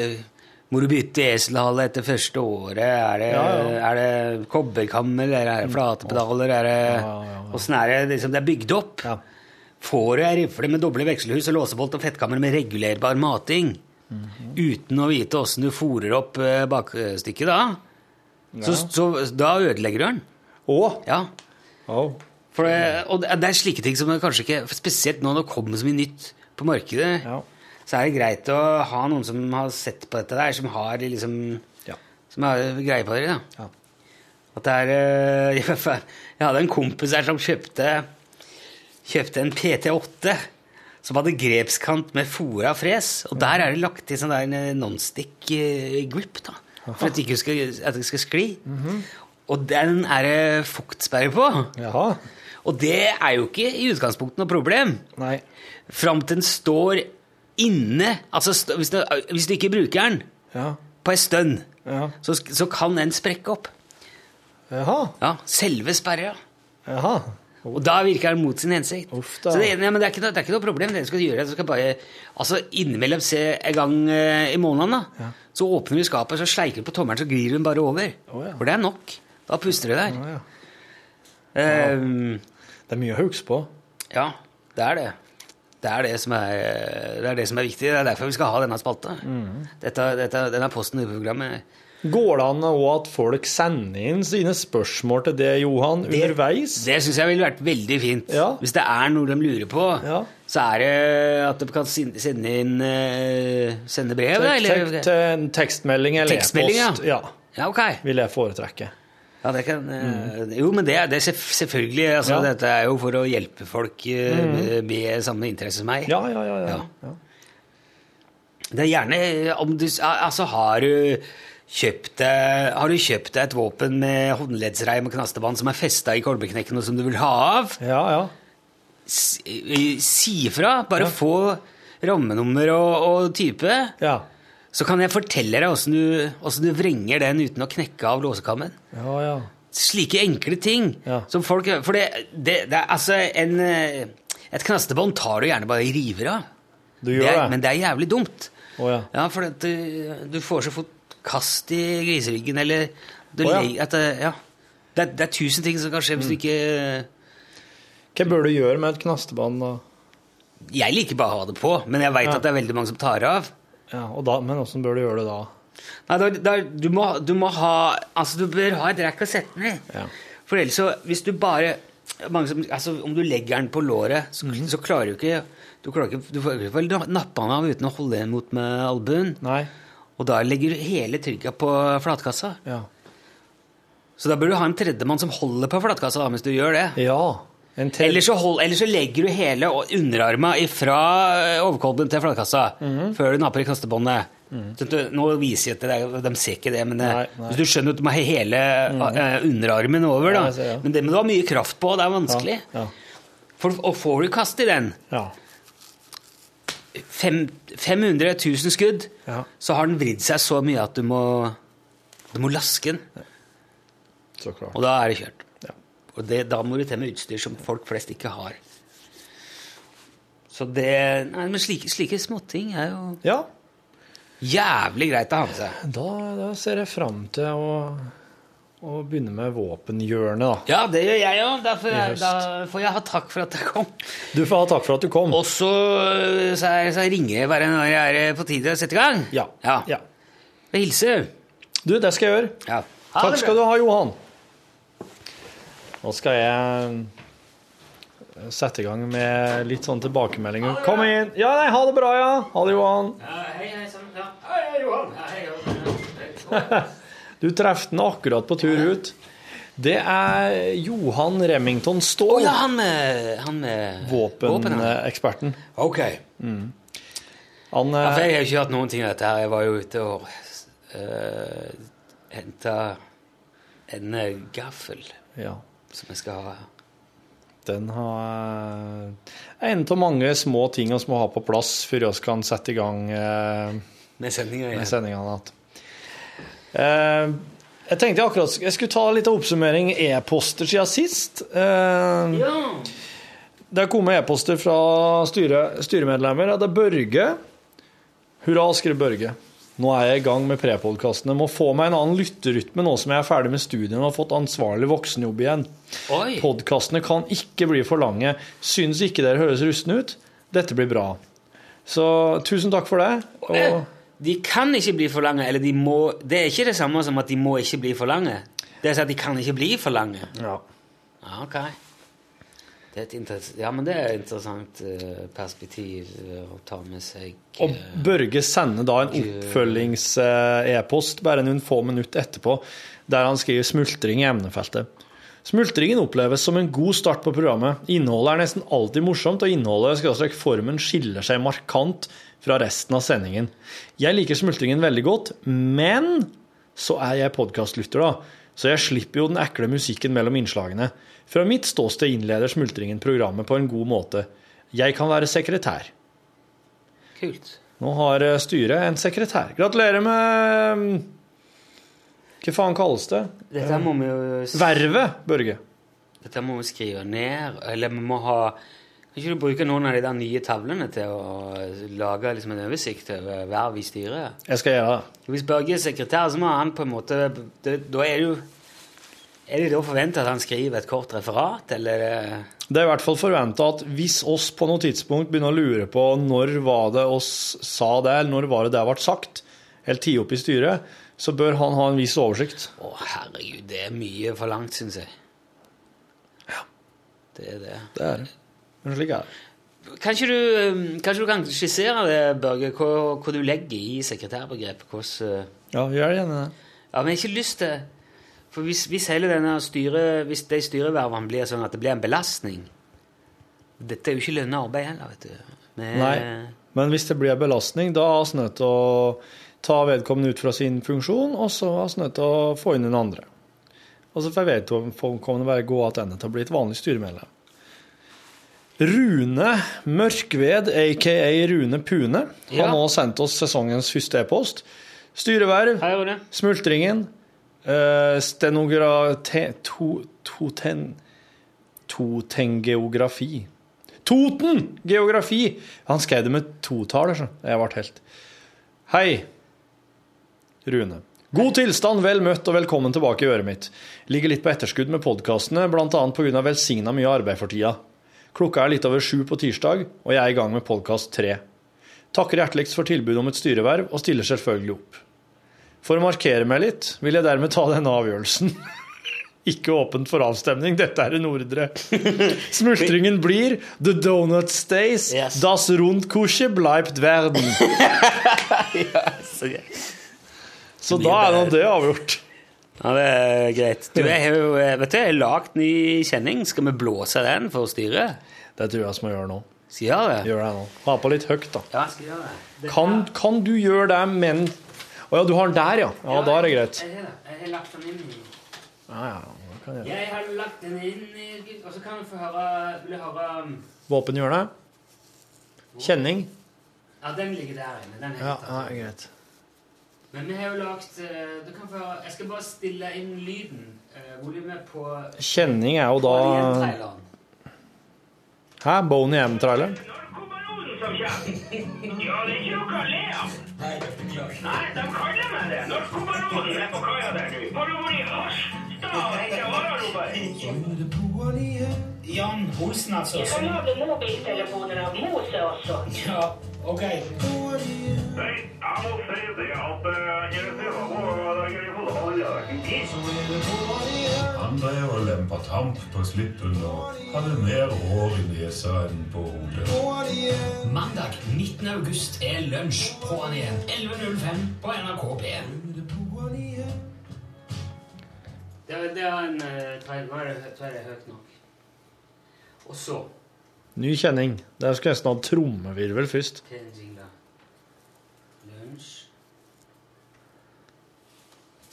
Speaker 4: må du bytte eselhale etter første året? Er det,
Speaker 2: Ja, ja. Mm.
Speaker 4: er det kobberkammel, eller er det flate pedaler? Er det,
Speaker 2: Ja, ja, ja.
Speaker 4: Åssen er det liksom, det er bygd opp?
Speaker 2: Ja.
Speaker 4: Får du ei rifle med doble vekselhus og låsebolt og fettkammer med regulerbar mating,
Speaker 2: Mhm.
Speaker 4: uten å vite åssen du fòrer opp eh, bakstykket da, så, så da ødelegger du den.
Speaker 2: Å!
Speaker 4: Ja.
Speaker 2: Au.
Speaker 4: For det, og det det er slike ting som man kanskje ikke for Spesielt nå når det kommer så mye nytt på markedet,
Speaker 2: Ja.
Speaker 4: så er det greit å ha noen som har sett på dette der, som har liksom
Speaker 2: Ja.
Speaker 4: Som har greie på det. da.
Speaker 2: Ja.
Speaker 4: At det er eh, Jeg hadde en kompis her som kjøpte Kjøpte en PT8 som hadde grepskant med fora fres, og der er det lagt til sånn der eh, nonstick eh, grip, da. For at det ikke skal, at det ikke skal skli.
Speaker 2: Mhm.
Speaker 4: Og den er det fuktsperre på.
Speaker 2: Jaha.
Speaker 4: Og det er jo ikke i utgangspunktet noe problem.
Speaker 2: Nei.
Speaker 4: Fram til den står inne Altså st hvis, du, hvis du ikke bruker den
Speaker 2: Ja.
Speaker 4: på ei stund,
Speaker 2: Ja.
Speaker 4: så, sk- så kan den sprekke opp.
Speaker 2: Jaha.
Speaker 4: Ja, Selve sperra.
Speaker 2: Jaha.
Speaker 4: Og da virker den mot sin hensikt.
Speaker 2: Uff da.
Speaker 4: så det, ene- ja, men det er, ikke noe, det er ikke noe problem. Dere skal gjøre det. Dere skal bare, altså Innimellom se en gang eh, i måneden, da. Så åpner du skapet, så sleiker du på tommelen, så glir hun bare over.
Speaker 2: Å, ja.
Speaker 4: For det er nok. Da puster du der.
Speaker 2: Ja, ja.
Speaker 4: Ehm,
Speaker 2: Det er mye å huske på.
Speaker 4: Ja, det er det. Det er det som er, det er, det som er viktig. Det er derfor vi skal ha denne spalta.
Speaker 2: Mhm.
Speaker 4: Dette, dette, denne posten i programmet.
Speaker 2: Går det an òg at folk sender inn sine spørsmål til det, Johan, underveis?
Speaker 4: Det syns jeg ville vært veldig fint.
Speaker 2: Ja.
Speaker 4: Hvis det er noe de lurer på,
Speaker 2: Ja.
Speaker 4: så er det at de kan sin- sende inn eh, Sende brev, da?
Speaker 2: Tek-
Speaker 4: Eller?
Speaker 2: tek- til en tekstmelding eller
Speaker 4: Tekstmelding, ja.
Speaker 2: e-post. Ja.
Speaker 4: Ja, ok.
Speaker 2: vil jeg foretrekke.
Speaker 4: Ja, det kan, eh, Jo, men det, er- det er selv- selvfølgelig. Altså,
Speaker 2: Mhm. Ja. Mhm.
Speaker 4: Dette er jo for å hjelpe folk eh, med, med samme interesse som meg.
Speaker 2: Ja, ja, ja. ja.
Speaker 4: Ja.
Speaker 2: ja.
Speaker 4: Det er gjerne eh, om du Altså, har du kjøpt deg Har du kjøpt deg et våpen med håndleddsreim og knastebånd som er festa i kolbeknekken, og som du vil ha av?
Speaker 2: ja, ja.
Speaker 4: S- eh, Si ifra. Bare få rammenummer og, og type.
Speaker 2: ja.
Speaker 4: Så kan jeg fortelle deg åssen du, hvordan du vrenger den uten å knekke av låsekammen.
Speaker 2: ja, ja.
Speaker 4: Slike enkle ting
Speaker 2: Ja.
Speaker 4: som folk For det, det, det er altså en, eh, Et knastebånd tar du gjerne bare og river av.
Speaker 2: Du
Speaker 4: Det
Speaker 2: gjør
Speaker 4: er,
Speaker 2: det?
Speaker 4: men det er jævlig dumt.
Speaker 2: Å ja.
Speaker 4: Ja, for at du, du får så fort kast i griseryggen, eller du
Speaker 2: Å, ja. Mm.
Speaker 4: legger- at det, ja. det, er- det er tusen ting som kan skje hvis du ikke
Speaker 2: Hva bør du gjøre med et knastebånd? da?
Speaker 4: Jeg liker bare å ha det på, men jeg veit
Speaker 2: Ja.
Speaker 4: at det er veldig mange som tar av.
Speaker 2: Ja, og da, men åssen bør du gjøre det da?
Speaker 4: Nei, da, da, du, må, du må ha Altså, du bør ha et rekk å sette den i.
Speaker 2: Ja.
Speaker 4: For ellers så Hvis du bare mange som, altså, Om du legger den på låret, så,
Speaker 2: Mm.
Speaker 4: så klarer du ikke Du klarer ikke, du får ikke vel nappe den av uten å holde den mot med albuen.
Speaker 2: Nei.
Speaker 4: Og da legger du hele trykket på flatkassa.
Speaker 2: Ja.
Speaker 4: Så da bør du ha en tredjemann som holder på flatkassa da, mens du gjør det.
Speaker 2: ja. En til.
Speaker 4: Eller så, hold, eller så legger du hele o- underarma fra overkolben til flatkassa
Speaker 2: Mhm.
Speaker 4: før du napper i kastebåndet. Sånn at du- Nå viser jeg til deg, de ser ikke det, men eh,
Speaker 2: Nei, nei. Mhm.
Speaker 4: hvis du skjønner at du må ha hele eh, underarmen over, da.
Speaker 2: Ja, jeg ser det.
Speaker 4: Men det må du ha mye kraft på, det er vanskelig.
Speaker 2: Ja.
Speaker 4: For, og får du kast i den,
Speaker 2: Ja.
Speaker 4: fem, 500 000 skudd,
Speaker 2: Ja.
Speaker 4: så har den vridd seg så mye at du må, du må laske den.
Speaker 2: Så klart.
Speaker 4: Og da er det kjørt.
Speaker 2: Ja.
Speaker 4: Og det, da må du til med utstyr som folk flest ikke har. Så det Nei, men slike, slike småting er jo
Speaker 2: Ja,
Speaker 4: jævlig greit å ha med seg.
Speaker 2: da, da ser jeg fram til å, å begynne med våpenhjørnet, da.
Speaker 4: Ja, det gjør jeg òg. Da, får
Speaker 2: I
Speaker 4: jeg-
Speaker 2: høst.
Speaker 4: da får jeg ha takk for at jeg kom.
Speaker 2: Du får ha takk for at du kom.
Speaker 4: Og så, øh, så, er, så ringer jeg bare når jeg er eh, på tide å sette i gang.
Speaker 2: Ja.
Speaker 4: ja.
Speaker 2: ja.
Speaker 4: Og hilser.
Speaker 2: Du, det skal jeg gjøre.
Speaker 4: Ja.
Speaker 2: Takk skal du ha, Johan. Nå skal jeg sette i gang med litt sånn tilbakemeldinger. Kom inn! Ja, nei, ha det bra, ja. Ha det, Johan.
Speaker 4: hei, hei sann. Ja. Hei, Johan. Ja, hei, Johan.
Speaker 2: Du traff den akkurat på tur ut. Det er Johan Remington
Speaker 4: Å
Speaker 2: Ståhl,
Speaker 4: ja, han med, han med ja.
Speaker 2: våpeneksperten.
Speaker 4: eh, Ok.
Speaker 2: Han
Speaker 4: Ja,
Speaker 2: eh,
Speaker 4: for jeg har ikke hørt noen ting av dette her. Jeg var jo ute og uh, henta en eh, gaffel
Speaker 2: eh, Ja.
Speaker 4: som jeg skal ha.
Speaker 2: Den har er en av mange små ting vi må ha på plass før vi kan sette i gang eh,
Speaker 4: Med sendinga
Speaker 2: med
Speaker 4: igjen.
Speaker 2: sendinga natt. Eh, jeg tenkte akkurat Jeg skulle ta litt av oppsummering e-poster siden sist. Eh,
Speaker 4: Ja.
Speaker 2: Det er kommet e-poster fra styre, styremedlemmer. Ja, Det er Børge. Hurra, skriver Børge. Nå er jeg i gang med prepodkastene. Må få meg en annen lytterytme nå som jeg er ferdig med studiene og har fått ansvarlig voksenjobb igjen.
Speaker 4: Oi!
Speaker 2: Podkastene kan ikke bli for lange. Syns ikke dere høres rustne ut? Dette blir bra. Så tusen takk for det.
Speaker 4: Eh,
Speaker 2: Og
Speaker 4: De kan ikke bli for lange, eller de må Det er ikke det samme som at de må ikke bli for lange. Det er sånn at de kan ikke bli for lange.
Speaker 2: ja.
Speaker 4: Ja, ok. Det er et interess- ja, men det er et interessant eh, perspektiv eh, å ta med seg. eh,
Speaker 2: Og Børge sender da en oppfølgings-e-post bare noen få minutter etterpå, der han skriver 'smultring i emnefeltet'. Smultringen oppleves som en god start på programmet. Innholdet er nesten alltid morsomt, og innholdet skråstrek formen skiller seg markant fra resten av sendingen. Jeg liker smultringen veldig godt, men så er jeg podkastlytter, da. Så jeg slipper jo den ekle musikken mellom innslagene. Fra mitt ståsted innleder smultringen programmet på en god måte. Jeg kan være sekretær.
Speaker 4: eh, Kult.
Speaker 2: Nå har eh, styret en sekretær. Gratulerer med mm, Hva faen kalles det?
Speaker 4: Dette må vi jo s-
Speaker 2: Vervet, Børge.
Speaker 4: Dette må vi skrive ned, eller vi må ha Kan ikke du bruke noen av de der nye tavlene til å lage liksom en oversikt over verv i styret?
Speaker 2: Jeg skal gjøre det.
Speaker 4: Hvis Børge er sekretær, så må han på en måte det, Da er det jo Er det da forventa at han skriver et kort referat, eller eh,
Speaker 2: Det er i hvert fall forventa at hvis oss på noe tidspunkt begynner å lure på når var det oss sa det, eller når var det det ble sagt, eller tatt opp i styret, så bør han ha en viss oversikt.
Speaker 4: Å, herregud, det er mye forlangt, syns jeg. Det er det.
Speaker 2: Det er det. Men slik er det.
Speaker 4: Kanskje du, eh, kanskje du kan skissere det, Børge, hva, hva du legger i sekretærbegrepet? Hvordan eh,
Speaker 2: Ja, gjør gjerne det.
Speaker 4: Ja, men jeg har ikke lyst til For hvis, hvis hele denne styre, hvis de styrevervene blir sånn at det blir en belastning Dette er jo ikke lønna arbeid heller, vet du. Men,
Speaker 2: Nei. Men hvis det blir en belastning, da er vi nødt til å ta vedkommende ut fra sin funksjon, og så er vi nødt til å få inn den andre. Og så får vedkommende bare gå tilbake til å bli et vanlig styremedlem. Rune Mørkved, aka Rune Pune, har
Speaker 4: Ja.
Speaker 2: nå sendt oss sesongens første e-post. Styreverv,
Speaker 4: Hei, Rune.
Speaker 2: Smultringen, eh, stenogra... Te, to, toten, totengeografi. Toten! Geografi! Han skrev det med totall, så jeg ble helt Hei, Rune. God tilstand, vel møtt og velkommen tilbake i øret mitt. Ligger litt på etterskudd med podkastene, bl.a. pga. velsigna mye arbeid for tida. Klokka er litt over sju på tirsdag, og jeg er i gang med podkast tre. Takker hjerteligst for tilbudet om et styreverv, og stiller selvfølgelig opp. For å markere meg litt, vil jeg dermed ta denne avgjørelsen. Ikke åpent for avstemning. Dette er en ordre. Smultringen blir The donut stays.
Speaker 4: Yes.
Speaker 2: Das Rundkusche bleibt werden.
Speaker 4: Så gøy.
Speaker 2: Så da er nå det avgjort.
Speaker 4: Ja, det er greit. Du, jeg har jo eh, vet du, jeg har lagd ny kjenning. Skal vi blåse den for styret?
Speaker 2: Det tror jeg vi må gjøre nå.
Speaker 4: Skal jeg gjøre det?
Speaker 2: Gjør det nå. Ha på litt høyt, da.
Speaker 4: Ja, jeg skal gjøre det. det
Speaker 2: Kan, kan du gjøre det, men Å ja, du har den der, ja. Ja, da er det greit.
Speaker 3: Jeg har det. Jeg har lagt den inn. i-
Speaker 2: Ja, ja, da kan jeg gjøre det.
Speaker 3: Jeg har lagt den inn, i- og så kan vi få høre Vil du høre um,
Speaker 2: Våpen gjør det. Kjenning.
Speaker 3: Ja, den ligger der inne. Den er
Speaker 2: Ja, ja,
Speaker 3: tatt.
Speaker 2: greit.
Speaker 3: Men vi har jo lagt eh, Du kan få høre Jeg skal bare stille inn lyden. eh, Volumet på
Speaker 2: Kjenning er jo da
Speaker 3: Alien-traileren.
Speaker 2: Hæ? Boney M-trailer?
Speaker 1: Narkobaronen som kommer. Ja, det er ikke noe å le av. Nei, de kaller meg det. Narkobaronen er på kaia der nå. Har du vært i Harstad og henta vararobber?
Speaker 5: Jan Olsen, altså.
Speaker 6: Så har vi mobiltelefonerna mot oss.
Speaker 5: Ja, ok.
Speaker 1: Nei, jeg må si det at eh, jeg ser hva det er i hodet alle dager.
Speaker 7: Han drev og lempa tamp på slippen og hadde mer hår i nesa enn på hodet.
Speaker 5: Mandag 19. august er lunsj på han igjen. 11.05 på NRK P1.
Speaker 3: Det var, det var en eh, trailer. Nå er det, tror jeg det er høyt nok. Og så
Speaker 2: Ny kjenning. Der skulle jeg nesten ha trommevirvel først.
Speaker 3: til en jingle. Lunsj.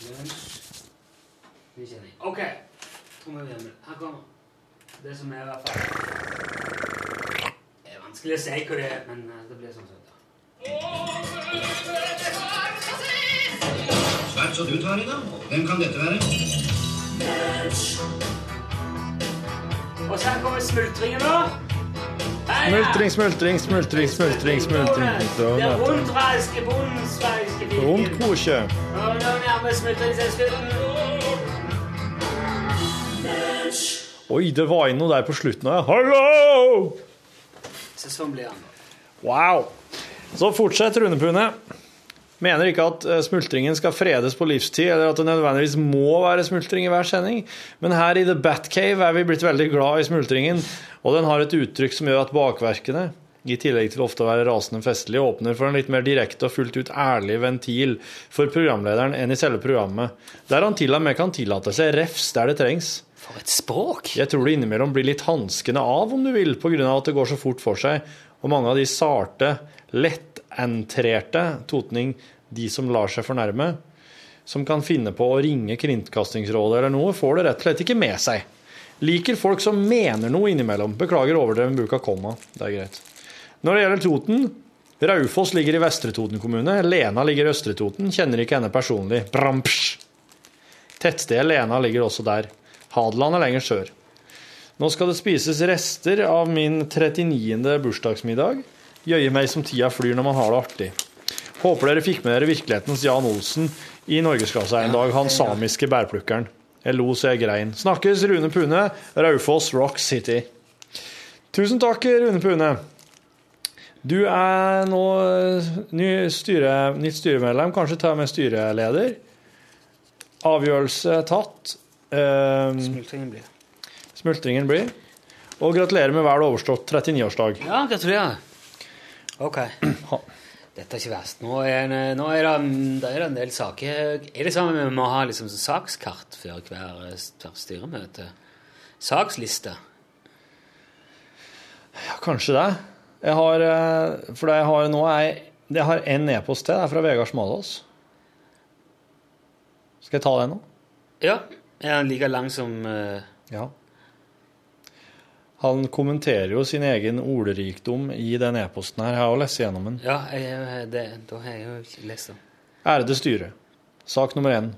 Speaker 3: Lunsj. Ny kjenning. OK. Trommevirvel. Her kommer det som er i hvert fall Det er vanskelig å si hva det er, men eh, det blir sånn sett. da.
Speaker 8: Svært så du tar i, da. Hvem kan dette være?
Speaker 3: Og så her kommer smultringen, da. Hei, ja!
Speaker 2: Smultring, smultring, smultring, smultring,
Speaker 3: Det er
Speaker 2: smultring.
Speaker 3: rundraiske, bundsveiske
Speaker 2: Rundkosje.
Speaker 3: Og nå nærmer smultringsselskapet
Speaker 2: Oi, det var inn noe der på slutten av Hallo!
Speaker 3: Så sånn blir han.
Speaker 2: Wow! Så fortsett, Rune Pune. Mener ikke at eh, smultringen skal fredes på livstid, eller at det nødvendigvis må være smultring i hver sending, men her i The Batcave er vi blitt veldig glad i smultringen, og den har et uttrykk som gjør at bakverkene, i tillegg til ofte å være rasende festlige, åpner for en litt mer direkte og fullt ut ærlig ventil for programlederen enn i selve programmet, der han til og med kan tillate seg refs der det trengs.
Speaker 4: er- For et språk!
Speaker 2: Jeg tror det innimellom blir litt hanskende av, om du vil, pga. at det går så fort for seg. Og mange av de sarte, lettentrerte totning, de som lar seg fornærme, som kan finne på å ringe Kringkastingsrådet eller noe, får det rett og slett ikke med seg. Liker folk som mener noe innimellom. Beklager overdreven bruk av komma. Det er greit. Når det gjelder Toten Raufoss ligger i Vestre Toten kommune. Lena ligger i Østre Toten. Kjenner ikke henne personlig. Brampsj! Tettstedet Lena ligger også der. Hadeland er lenger sør. Nå skal det spises rester av min 39. bursdagsmiddag. Jøye meg som tida flyr når man har det artig. Håper dere fikk med dere virkelighetens Jan Olsen i Norgesklasse her en dag, han samiske bærplukkeren. Jeg lo så jeg grein. Snakkes, Rune Pune, Raufoss, Rock City. Tusen takk, Rune Pune. Du er nå eh, ny styre, nytt styremedlem, kanskje ta med styreleder. Avgjørelse tatt. Eh,
Speaker 4: Smultringen blir.
Speaker 2: smultringen blir. Og gratulerer med vel overstått 39-årsdag.
Speaker 4: Ja, gratulerer. Ok. Dette er ikke verst. Nå er, en- nå er, det, det er en del saker Er det sånn at vi må ha liksom sakskart før hver, hver styremøte? Saksliste.
Speaker 2: Ja, kanskje det. Jeg har, eh, for det jeg har nå er, jeg har en e-post til, det er fra Vegard Smalås. Skal jeg ta den nå?
Speaker 4: Ja. Er den like lang som eh,
Speaker 2: Ja. Han kommenterer jo sin egen ordrikdom i den e-posten her. Jeg har jo lest gjennom den.
Speaker 4: Ja, jeg, det, da har jeg jo ikke lest den.
Speaker 2: Ærede styre. Sak nummer én.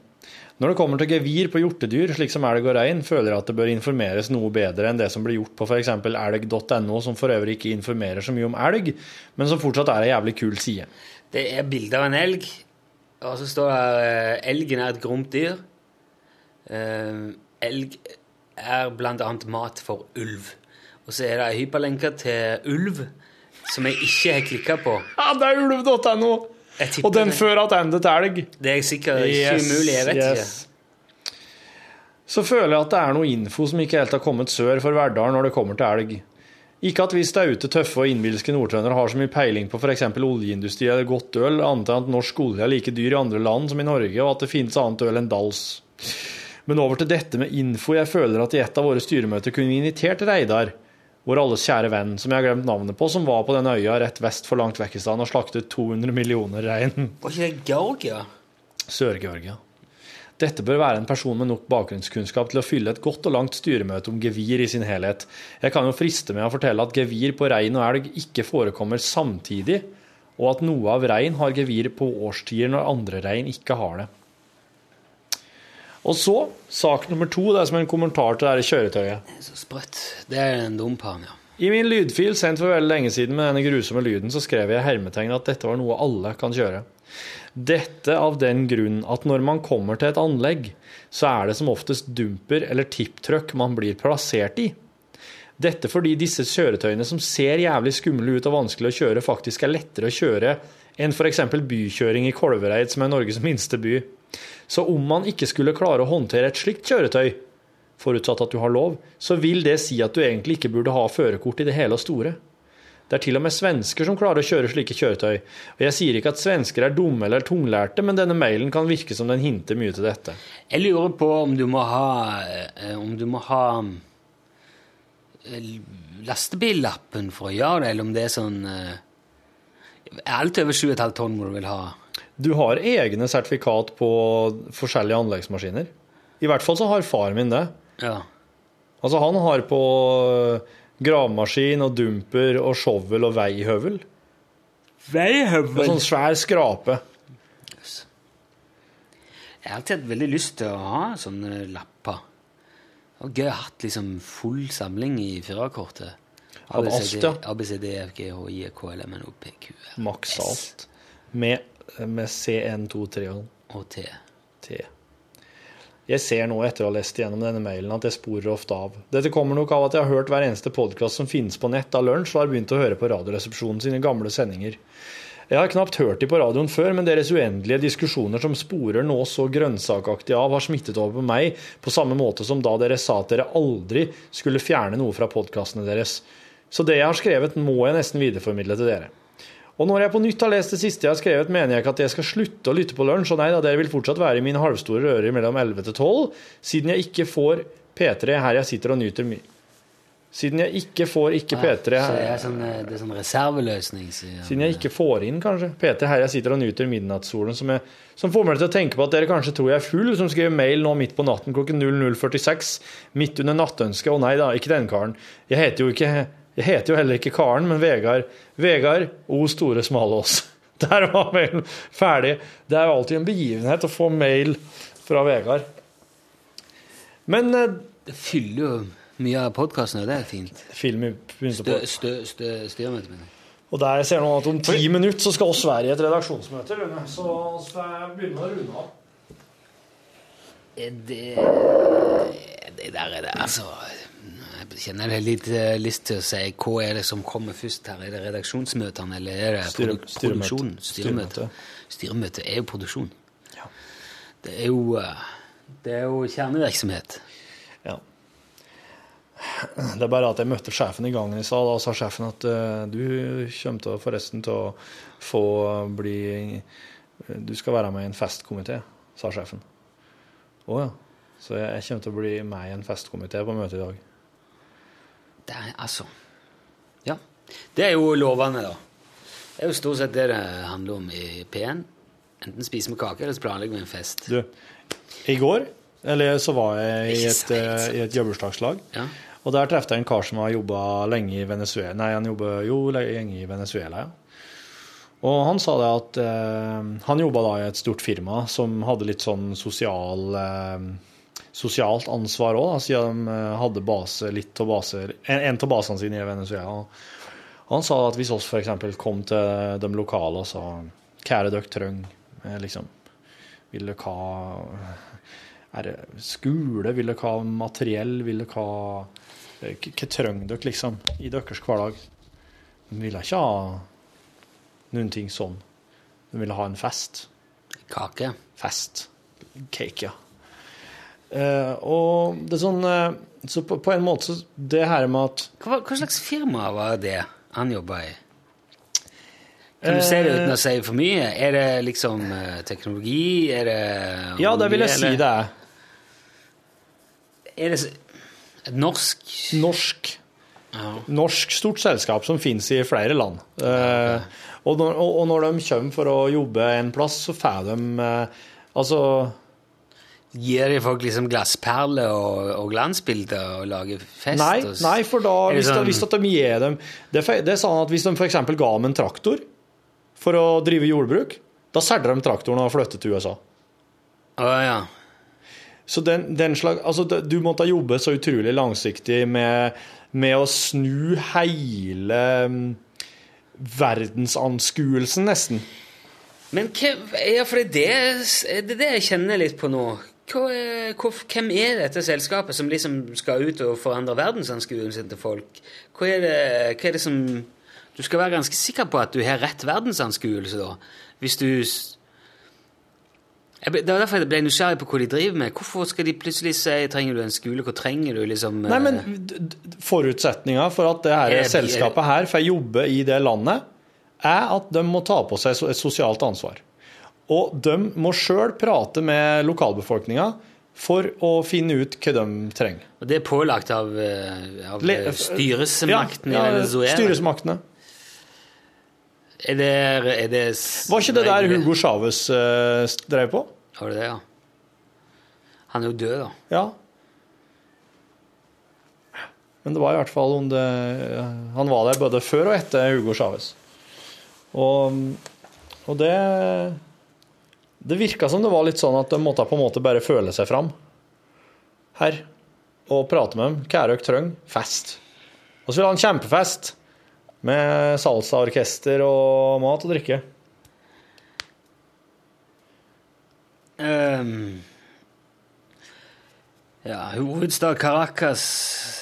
Speaker 2: Når det kommer til gevir på hjortedyr, slik som elg og rein, føler jeg at det bør informeres noe bedre enn det som blir gjort på f.eks. elg.no, som for øvrig ikke informerer så mye om elg, men som fortsatt er ei jævlig kul side.
Speaker 4: Det er bilde av en elg, og så står det eh, 'Elgen er et gromt dyr'. Eh, elg er blant annet mat for ulv. Og så er det ei hyperlenke til ulv som jeg ikke har klikka på.
Speaker 2: Ja, det er ulv.no!
Speaker 4: Jeg tipper
Speaker 2: Og den
Speaker 4: det.
Speaker 2: fører tilbake til elg.
Speaker 4: Det er sikkert ikke umulig. Jeg vet
Speaker 2: yes. så føler jeg at det er noe info som ikke helt har kommet sør for Verdal når det kommer til elg. Ikke at vi staute, tøffe og innbilske nordtrøndere har så mye peiling på f.eks. oljeindustri eller godt øl, annet enn at norsk olje er like dyr i andre land som i Norge, og at det finnes annet øl enn Dals. Men over til dette med info. Jeg føler at i et av våre styremøter kunne vi invitert Reidar, vår alles kjære venn, som jeg har glemt navnet på, som var på den øya rett vest for langt vekk i stedet og slaktet 200 millioner rein.
Speaker 4: Var ikke det Georgia?
Speaker 2: Sør-Georgia. Dette bør være en person med nok bakgrunnskunnskap til å fylle et godt og langt styremøte om gevir i sin helhet. Jeg kan jo friste med å fortelle at gevir på rein og elg ikke forekommer samtidig, og at noe av rein har gevir på årstider når andre rein ikke har det. Og så, sak nummer to, det er som en kommentar til det her kjøretøyet.
Speaker 4: Det er Så sprøtt. Det er en dum pan, ja.
Speaker 2: I min lydfil sendt for veldig lenge siden med denne grusomme lyden, så skrev jeg i hermetegn at dette var noe alle kan kjøre. Dette av den grunn at når man kommer til et anlegg, så er det som oftest dumper eller tipptrøkk man blir plassert i. Dette fordi disse kjøretøyene som ser jævlig skumle ut og vanskelig å kjøre, faktisk er lettere å kjøre enn f.eks. bykjøring i Kolvereid, som er Norges minste by. Så om man ikke skulle klare å håndtere et slikt kjøretøy, forutsatt at du har lov, så vil det si at du egentlig ikke burde ha førerkort i det hele og store. Det er til og med svensker som klarer å kjøre slike kjøretøy. Og jeg sier ikke at svensker er dumme eller tunglærte, men denne mailen kan virke som den hinter mye til dette.
Speaker 4: Jeg lurer på om du må ha eh, Om du må ha eh, lastebillappen for å gjøre det, eller om det er sånn eh, Alt over 7,5 tonn må du vel ha.
Speaker 2: Du har egne sertifikat på forskjellige anleggsmaskiner. I hvert fall så har far min det.
Speaker 4: Ja.
Speaker 2: Altså, han har på øh, gravemaskin og dumper og shovel og veihøvel. Og
Speaker 4: Veihøvel?
Speaker 2: sånn svær skrape.
Speaker 4: Jeg har alltid hatt veldig lyst til å ha sånne lapper. Det var gøy å ha hatt liksom full samling i førerkortet.
Speaker 2: Av alt, ja.
Speaker 4: ABCD, FG, HI, KLM, NOP, QR
Speaker 2: Maks alt. Med, øh, med CN23-en.
Speaker 4: og T.
Speaker 2: T. Jeg ser nå etter å ha lest gjennom denne mailen at jeg sporer ofte av. Dette kommer nok av at jeg har hørt hver eneste podkast som finnes på nett av lunsj, og har begynt å høre på Radioresepsjonen sine gamle sendinger. Jeg har knapt hørt de på radioen før, men deres uendelige diskusjoner som sporer nå så grønnsakaktig av, har smittet over på meg, på samme måte som da dere sa at dere aldri skulle fjerne noe fra podkastene deres. Så det jeg har skrevet, må jeg nesten videreformidle til dere. Og når jeg på nytt har lest det siste jeg har skrevet, mener jeg ikke at jeg skal slutte å lytte på lunsj, og nei da, dere vil fortsatt være i mine halvstore ører mellom 11 til 12, siden jeg ikke får P3 her jeg sitter og nyter mye. Siden jeg ikke får ikke P3
Speaker 4: Så det
Speaker 2: her
Speaker 4: er sånn, eh, det er sånn reserveløsning. sier
Speaker 2: siden jeg ikke får inn, kanskje. P3 her jeg sitter og nyter midnattssolen, som, jeg, som får meg til å tenke på at dere kanskje tror jeg er full, som skriver mail nå midt på natten klokken 00.46, midt under nattønsket. Å nei da, ikke den karen. Jeg heter jo ikke Jeg heter jo heller ikke Karen, men Vegard. Vegard O. Store Smalås. Der var mailen ferdig. Det er jo alltid en begivenhet å få mail fra Vegard. Men eh,
Speaker 4: Det fyller jo mye av podkasten, og det er fint.
Speaker 2: film begynte
Speaker 4: Stø,
Speaker 2: på
Speaker 4: stø, stø, styrmøte med meg.
Speaker 2: Og der jeg ser nå at om ti minutter så skal oss være i et redaksjonsmøte, Rune. Så vi begynner å runde av.
Speaker 4: Eh, Det, eh, det der er det, altså. Jeg kjenner jeg har litt eh, lyst til å si hva er det som kommer først her? Er det redaksjonsmøtene, eller er det
Speaker 2: Styre-
Speaker 4: produ-
Speaker 2: styremøte.
Speaker 4: produksjonen? Styremøte.
Speaker 2: Styremøte.
Speaker 4: Styremøte er jo produksjon. Det er jo, eh, det er jo kjernevirksomhet.
Speaker 2: Ja. Det er bare at jeg møtte sjefen i gangen i stad, og da sa sjefen at eh, du kommer til å forresten til å få bli Du skal være med i en festkomité, sa sjefen. Å ja. Så jeg, jeg kommer til å bli med i en festkomité på møtet i dag.
Speaker 4: Det er, altså Ja. Det er jo lovende, da. Det er jo stort sett det det handler om i P1. Enten spiser vi kake, eller så planlegger vi en fest.
Speaker 2: Du, i går eller så var jeg i
Speaker 4: Ikke
Speaker 2: et,
Speaker 4: sant, ikke sant.
Speaker 2: eh, i et jobberslag.
Speaker 4: Ja.
Speaker 2: Og der treffte jeg en kar som har jobba lenge i Venezuela. Nei, han jobber jo lenge i Venezuela, ja. Og han sa det at eh, han jobba da i et stort firma som hadde litt sånn sosial eh, sosialt ansvar òg, siden de eh, hadde base, litt av baser, en, en av basene sine i Venezuela. Han sa at hvis oss for eksempel kom til de lokale og sa Kjære dere trøng, eh, liksom Vil dere ha er det skole? Vil dere ha materiell? Vil dere ha eh, k- Hva trenger dere, liksom, i deres hverdag? De ville ikke ha noen ting sånn. De ville ha en fest.
Speaker 4: Kake.
Speaker 2: Fest. Cake, ja. Eh, og det er sånn eh, Så på, på en måte så Det her med at
Speaker 4: Hva, hva slags firma var det han jobba i? Kan du se det uten å si for mye? Er det liksom eh, teknologi? Er det
Speaker 2: Ja, det vil jeg si det er.
Speaker 4: Er det s- et norsk
Speaker 2: Norsk.
Speaker 4: Ja.
Speaker 2: Norsk stort selskap som finnes i flere land. Eh, og, når, og, og når de kommer for å jobbe en plass, så får de eh, Altså
Speaker 4: Gir de folk liksom glassperler og, og glansbilder og lager fest?
Speaker 2: Nei,
Speaker 4: og s-
Speaker 2: nei for da
Speaker 4: Er det
Speaker 2: Hvis, da-
Speaker 4: sånn-
Speaker 2: hvis at de gir dem Det, er fe- det er sånn at hvis de f.eks. ga dem en traktor for å drive jordbruk, da selger de traktoren og flytter til USA.
Speaker 4: Å ja.
Speaker 2: Så den, den slag, altså, det- du måtte jobbe så utrolig langsiktig med, med å snu hele mm, verdensanskuelsen, nesten.
Speaker 4: Men hva, ja, for det er det, det er det jeg kjenner litt på nå. Hva, er- hvor- hvem er dette selskapet som liksom skal ut og forandre verdensanskuelsen sin til folk? Hva er, det, hva er det som Du skal være ganske sikker på at du har rett verdensanskuelse, da. Hvis du s- jeg ble, det var derfor jeg ble nysgjerrig på hva de driver med. Hvorfor skal de plutselig si 'trenger du en skole', hvor trenger du liksom
Speaker 2: Nei,
Speaker 4: eh,
Speaker 2: men d- d- forutsetninga for at det her
Speaker 4: Er- er-
Speaker 2: selskapet her får jobbe i det landet, er at de må ta på seg so- et sosialt ansvar. Og de må sjøl prate med lokalbefolkninga for å finne ut hva de trenger.
Speaker 4: Og det er pålagt av, eh, av
Speaker 2: Le-
Speaker 4: eh, styresmaktene
Speaker 2: Ja,
Speaker 4: i
Speaker 2: ja,
Speaker 4: Venezuela?
Speaker 2: Styresmaktene.
Speaker 4: Er det, er det s-
Speaker 2: Var ikke det der
Speaker 4: regler?
Speaker 2: Hugo Chávez eh, drev på?
Speaker 4: Var det det, ja? Han er jo død, da.
Speaker 2: Ja. Men det var i hvert fall under Han var der både før og etter Hugo Chávez. Og, og det Det virka som det var litt sånn at de måtte på en måte bare føle seg fram her og prate med dem. Hva er det dere trenger? Fest. Og så ville han kjempefest med salsaorkester og mat og drikke.
Speaker 4: Ehm, ja, hovedstad Caracas.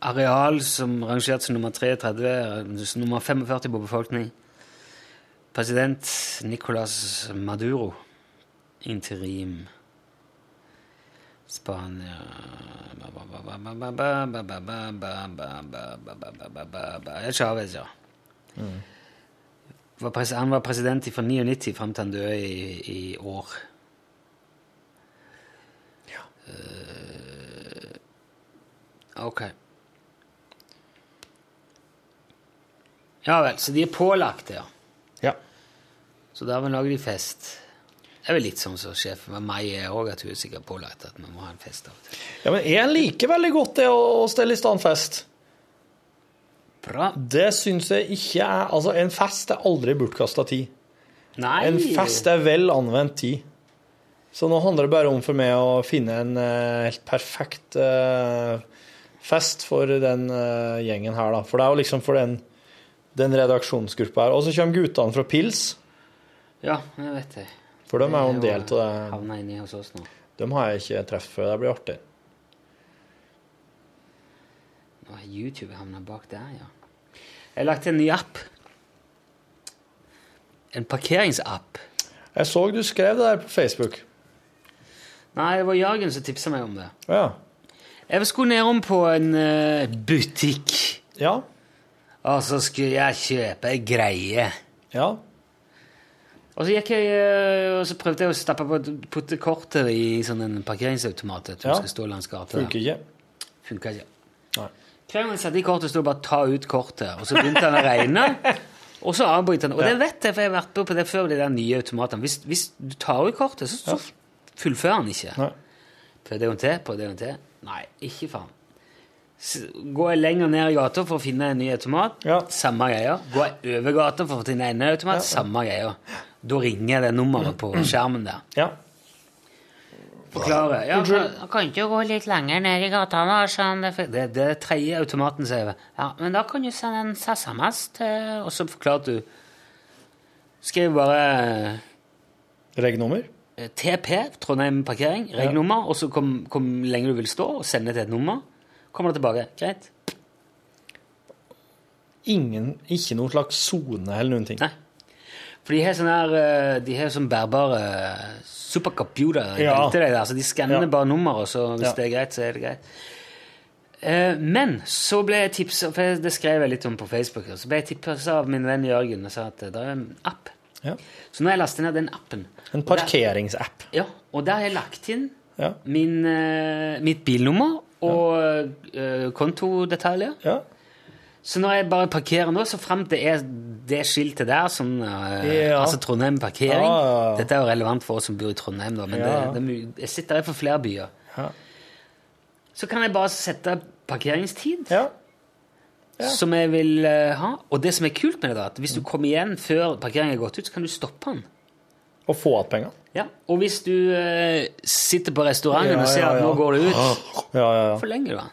Speaker 4: Areal som rangert som nummer 33, som nummer 45 på befolkning. President Nicolas Maduro. Interim. Spania Chávez, ja. Var pres han var president fra 99 fram til han døde i, i år. Ja. Eh, ok. Ja vel, så de er pålagt det, ja.
Speaker 2: Ja.
Speaker 4: Så dermed lager de fest. Det er vel litt sånn som sjefen med meg er òg, at hun er sikkert pålagt at man må ha en fest av og til.
Speaker 2: ja men jeg liker veldig godt det å å stelle i stand fest.
Speaker 4: Bra.
Speaker 2: Det syns jeg ikke er Altså, en fest er aldri bortkasta tid.
Speaker 4: Nei!
Speaker 2: En fest er vel anvendt tid. Så nå handler det bare om for meg å finne en eh, helt perfekt eh, fest for den eh, gjengen her, da. For det er jo liksom for den, den redaksjonsgruppa her. Og så kommer guttene fra Pils,
Speaker 4: Ja, det vet jeg.
Speaker 2: for dem er jo en del av det.
Speaker 4: Havna inni hos oss nå.
Speaker 2: Dem har jeg ikke truffet før. Det blir artig.
Speaker 4: Nå har YouTube havna bak der, ja. Jeg har lagt en ny app. En parkeringsapp.
Speaker 2: Jeg så du skrev det der på Facebook.
Speaker 4: Nei, det var Jørgen som tipsa meg om det.
Speaker 2: Ja.
Speaker 4: Jeg skulle nedom på en eh, butikk,
Speaker 2: Ja.
Speaker 4: og så skulle jeg kjøpe ei greie.
Speaker 2: Ja.
Speaker 4: Og så, gikk jeg, eh, og så prøvde jeg å stappe på putte kortet i sånn en parkeringsautomat. at
Speaker 2: Ja.
Speaker 4: ja. skal stå langs gata.
Speaker 2: Funker ikke.
Speaker 4: Funka ikke.
Speaker 2: Nei.
Speaker 4: Hver gang jeg satte i kortet, sto det bare 'ta ut kortet', og så begynte han å regne. Og så avbryter han. Og det vet jeg, for jeg har vært på det før med de der nye automatene. Hvis, hvis du tar ut kortet, så, så fullfører han ikke.
Speaker 2: Nei.
Speaker 4: Prøvde jeg en til, prøvde jeg en til. Nei, ikke faen. S- Går jeg lenger ned i gata for å finne en ny automat,
Speaker 2: Ja.
Speaker 4: samme greia. Går jeg over gata for å finne en ny automat, samme greia. Da ringer jeg det nummeret på skjermen der.
Speaker 2: Ja.
Speaker 4: Forklarer. Ja, da kan ikke gå litt lenger ned i gata nå, sånn det, det, det er tredje automaten, sier jeg. Ja, men da kan du sende en SMS til Og så forklarte du. Skriv bare
Speaker 2: Regnummer?
Speaker 4: eh, TP, Trondheim parkering, regnummer, og så kom, kom lenge du vil stå, og sende til et nummer. Kommer det tilbake. Greit.
Speaker 2: Ingen Ikke noen slags sone eller noen ting.
Speaker 4: Nei. For de har sånn her eh, De har sånn bærbare supercomputer i
Speaker 2: Ja.
Speaker 4: beltet, de der, så de skanner
Speaker 2: Ja.
Speaker 4: bare nummer, og så hvis
Speaker 2: Ja.
Speaker 4: det er greit, så er det greit. Eh, Men så ble jeg tipsa For jeg- det skrev jeg litt om på Facebook. og Så ble jeg tipsa av min venn Jørgen og sa at eh, det er en app.
Speaker 2: Ja.
Speaker 4: Så nå har jeg lastet ned den appen.
Speaker 2: En
Speaker 4: Og der-
Speaker 2: parkeringsapp.
Speaker 4: Ja, og der har jeg lagt inn
Speaker 2: Ja.
Speaker 4: min, eh, mitt bilnummer og eh, kontodetaljer.
Speaker 2: Ja.
Speaker 4: Så når jeg bare parkerer nå, så frem til er det skiltet der som eh,
Speaker 2: Ja. Ah,
Speaker 4: Altså Trondheim parkering.
Speaker 2: Ja, ja, ja.
Speaker 4: Dette er jo relevant for oss som bor i Trondheim, da, men
Speaker 2: Ja.
Speaker 4: det, det, er mye- jeg sitter her for flere byer.
Speaker 2: Ja.
Speaker 4: Så kan jeg bare sette parkeringstid,
Speaker 2: ja. ja. Mm.
Speaker 4: som jeg vil eh, ha. Og det som er kult med det, da, at hvis du kommer igjen før parkeringen er gått ut, så kan du stoppe den.
Speaker 2: Og få igjen penga.
Speaker 4: Ja. Og hvis du eh, sitter på restauranten
Speaker 2: Ja,
Speaker 4: og ser
Speaker 2: ja,
Speaker 4: at
Speaker 2: ja.
Speaker 4: nå
Speaker 2: Ah.
Speaker 4: går det ut,
Speaker 2: Ja, ja, ja.
Speaker 4: forlenger du den.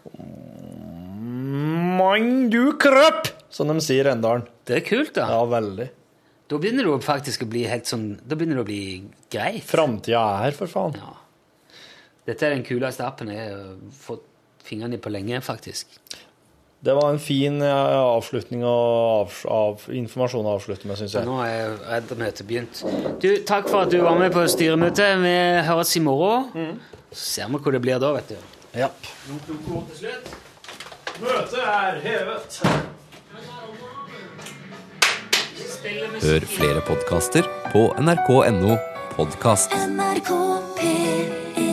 Speaker 2: Mann, du krøp! Som de sier i Rendalen.
Speaker 4: Det er kult, da.
Speaker 2: Ja, veldig.
Speaker 4: Da begynner du faktisk å bli helt sånn Da begynner det å bli greit.
Speaker 2: Framtida er her, for faen.
Speaker 4: Ja. Dette er den kuleste appen jeg har fått fingrene i på lenge, faktisk.
Speaker 2: Det var en fin eh, avslutning og av, av, informasjon å avslutte med, syns
Speaker 4: Så
Speaker 2: jeg.
Speaker 4: nå er jeg redd møtet begynt. Du, takk for at du var med på styremøtet. Vi høres i morgen. Så ser vi hvor det blir da, vet du.
Speaker 2: Japp. Møtet er hevet.
Speaker 9: Hør flere podkaster på nrk.no podkast.
Speaker 10: NRK P1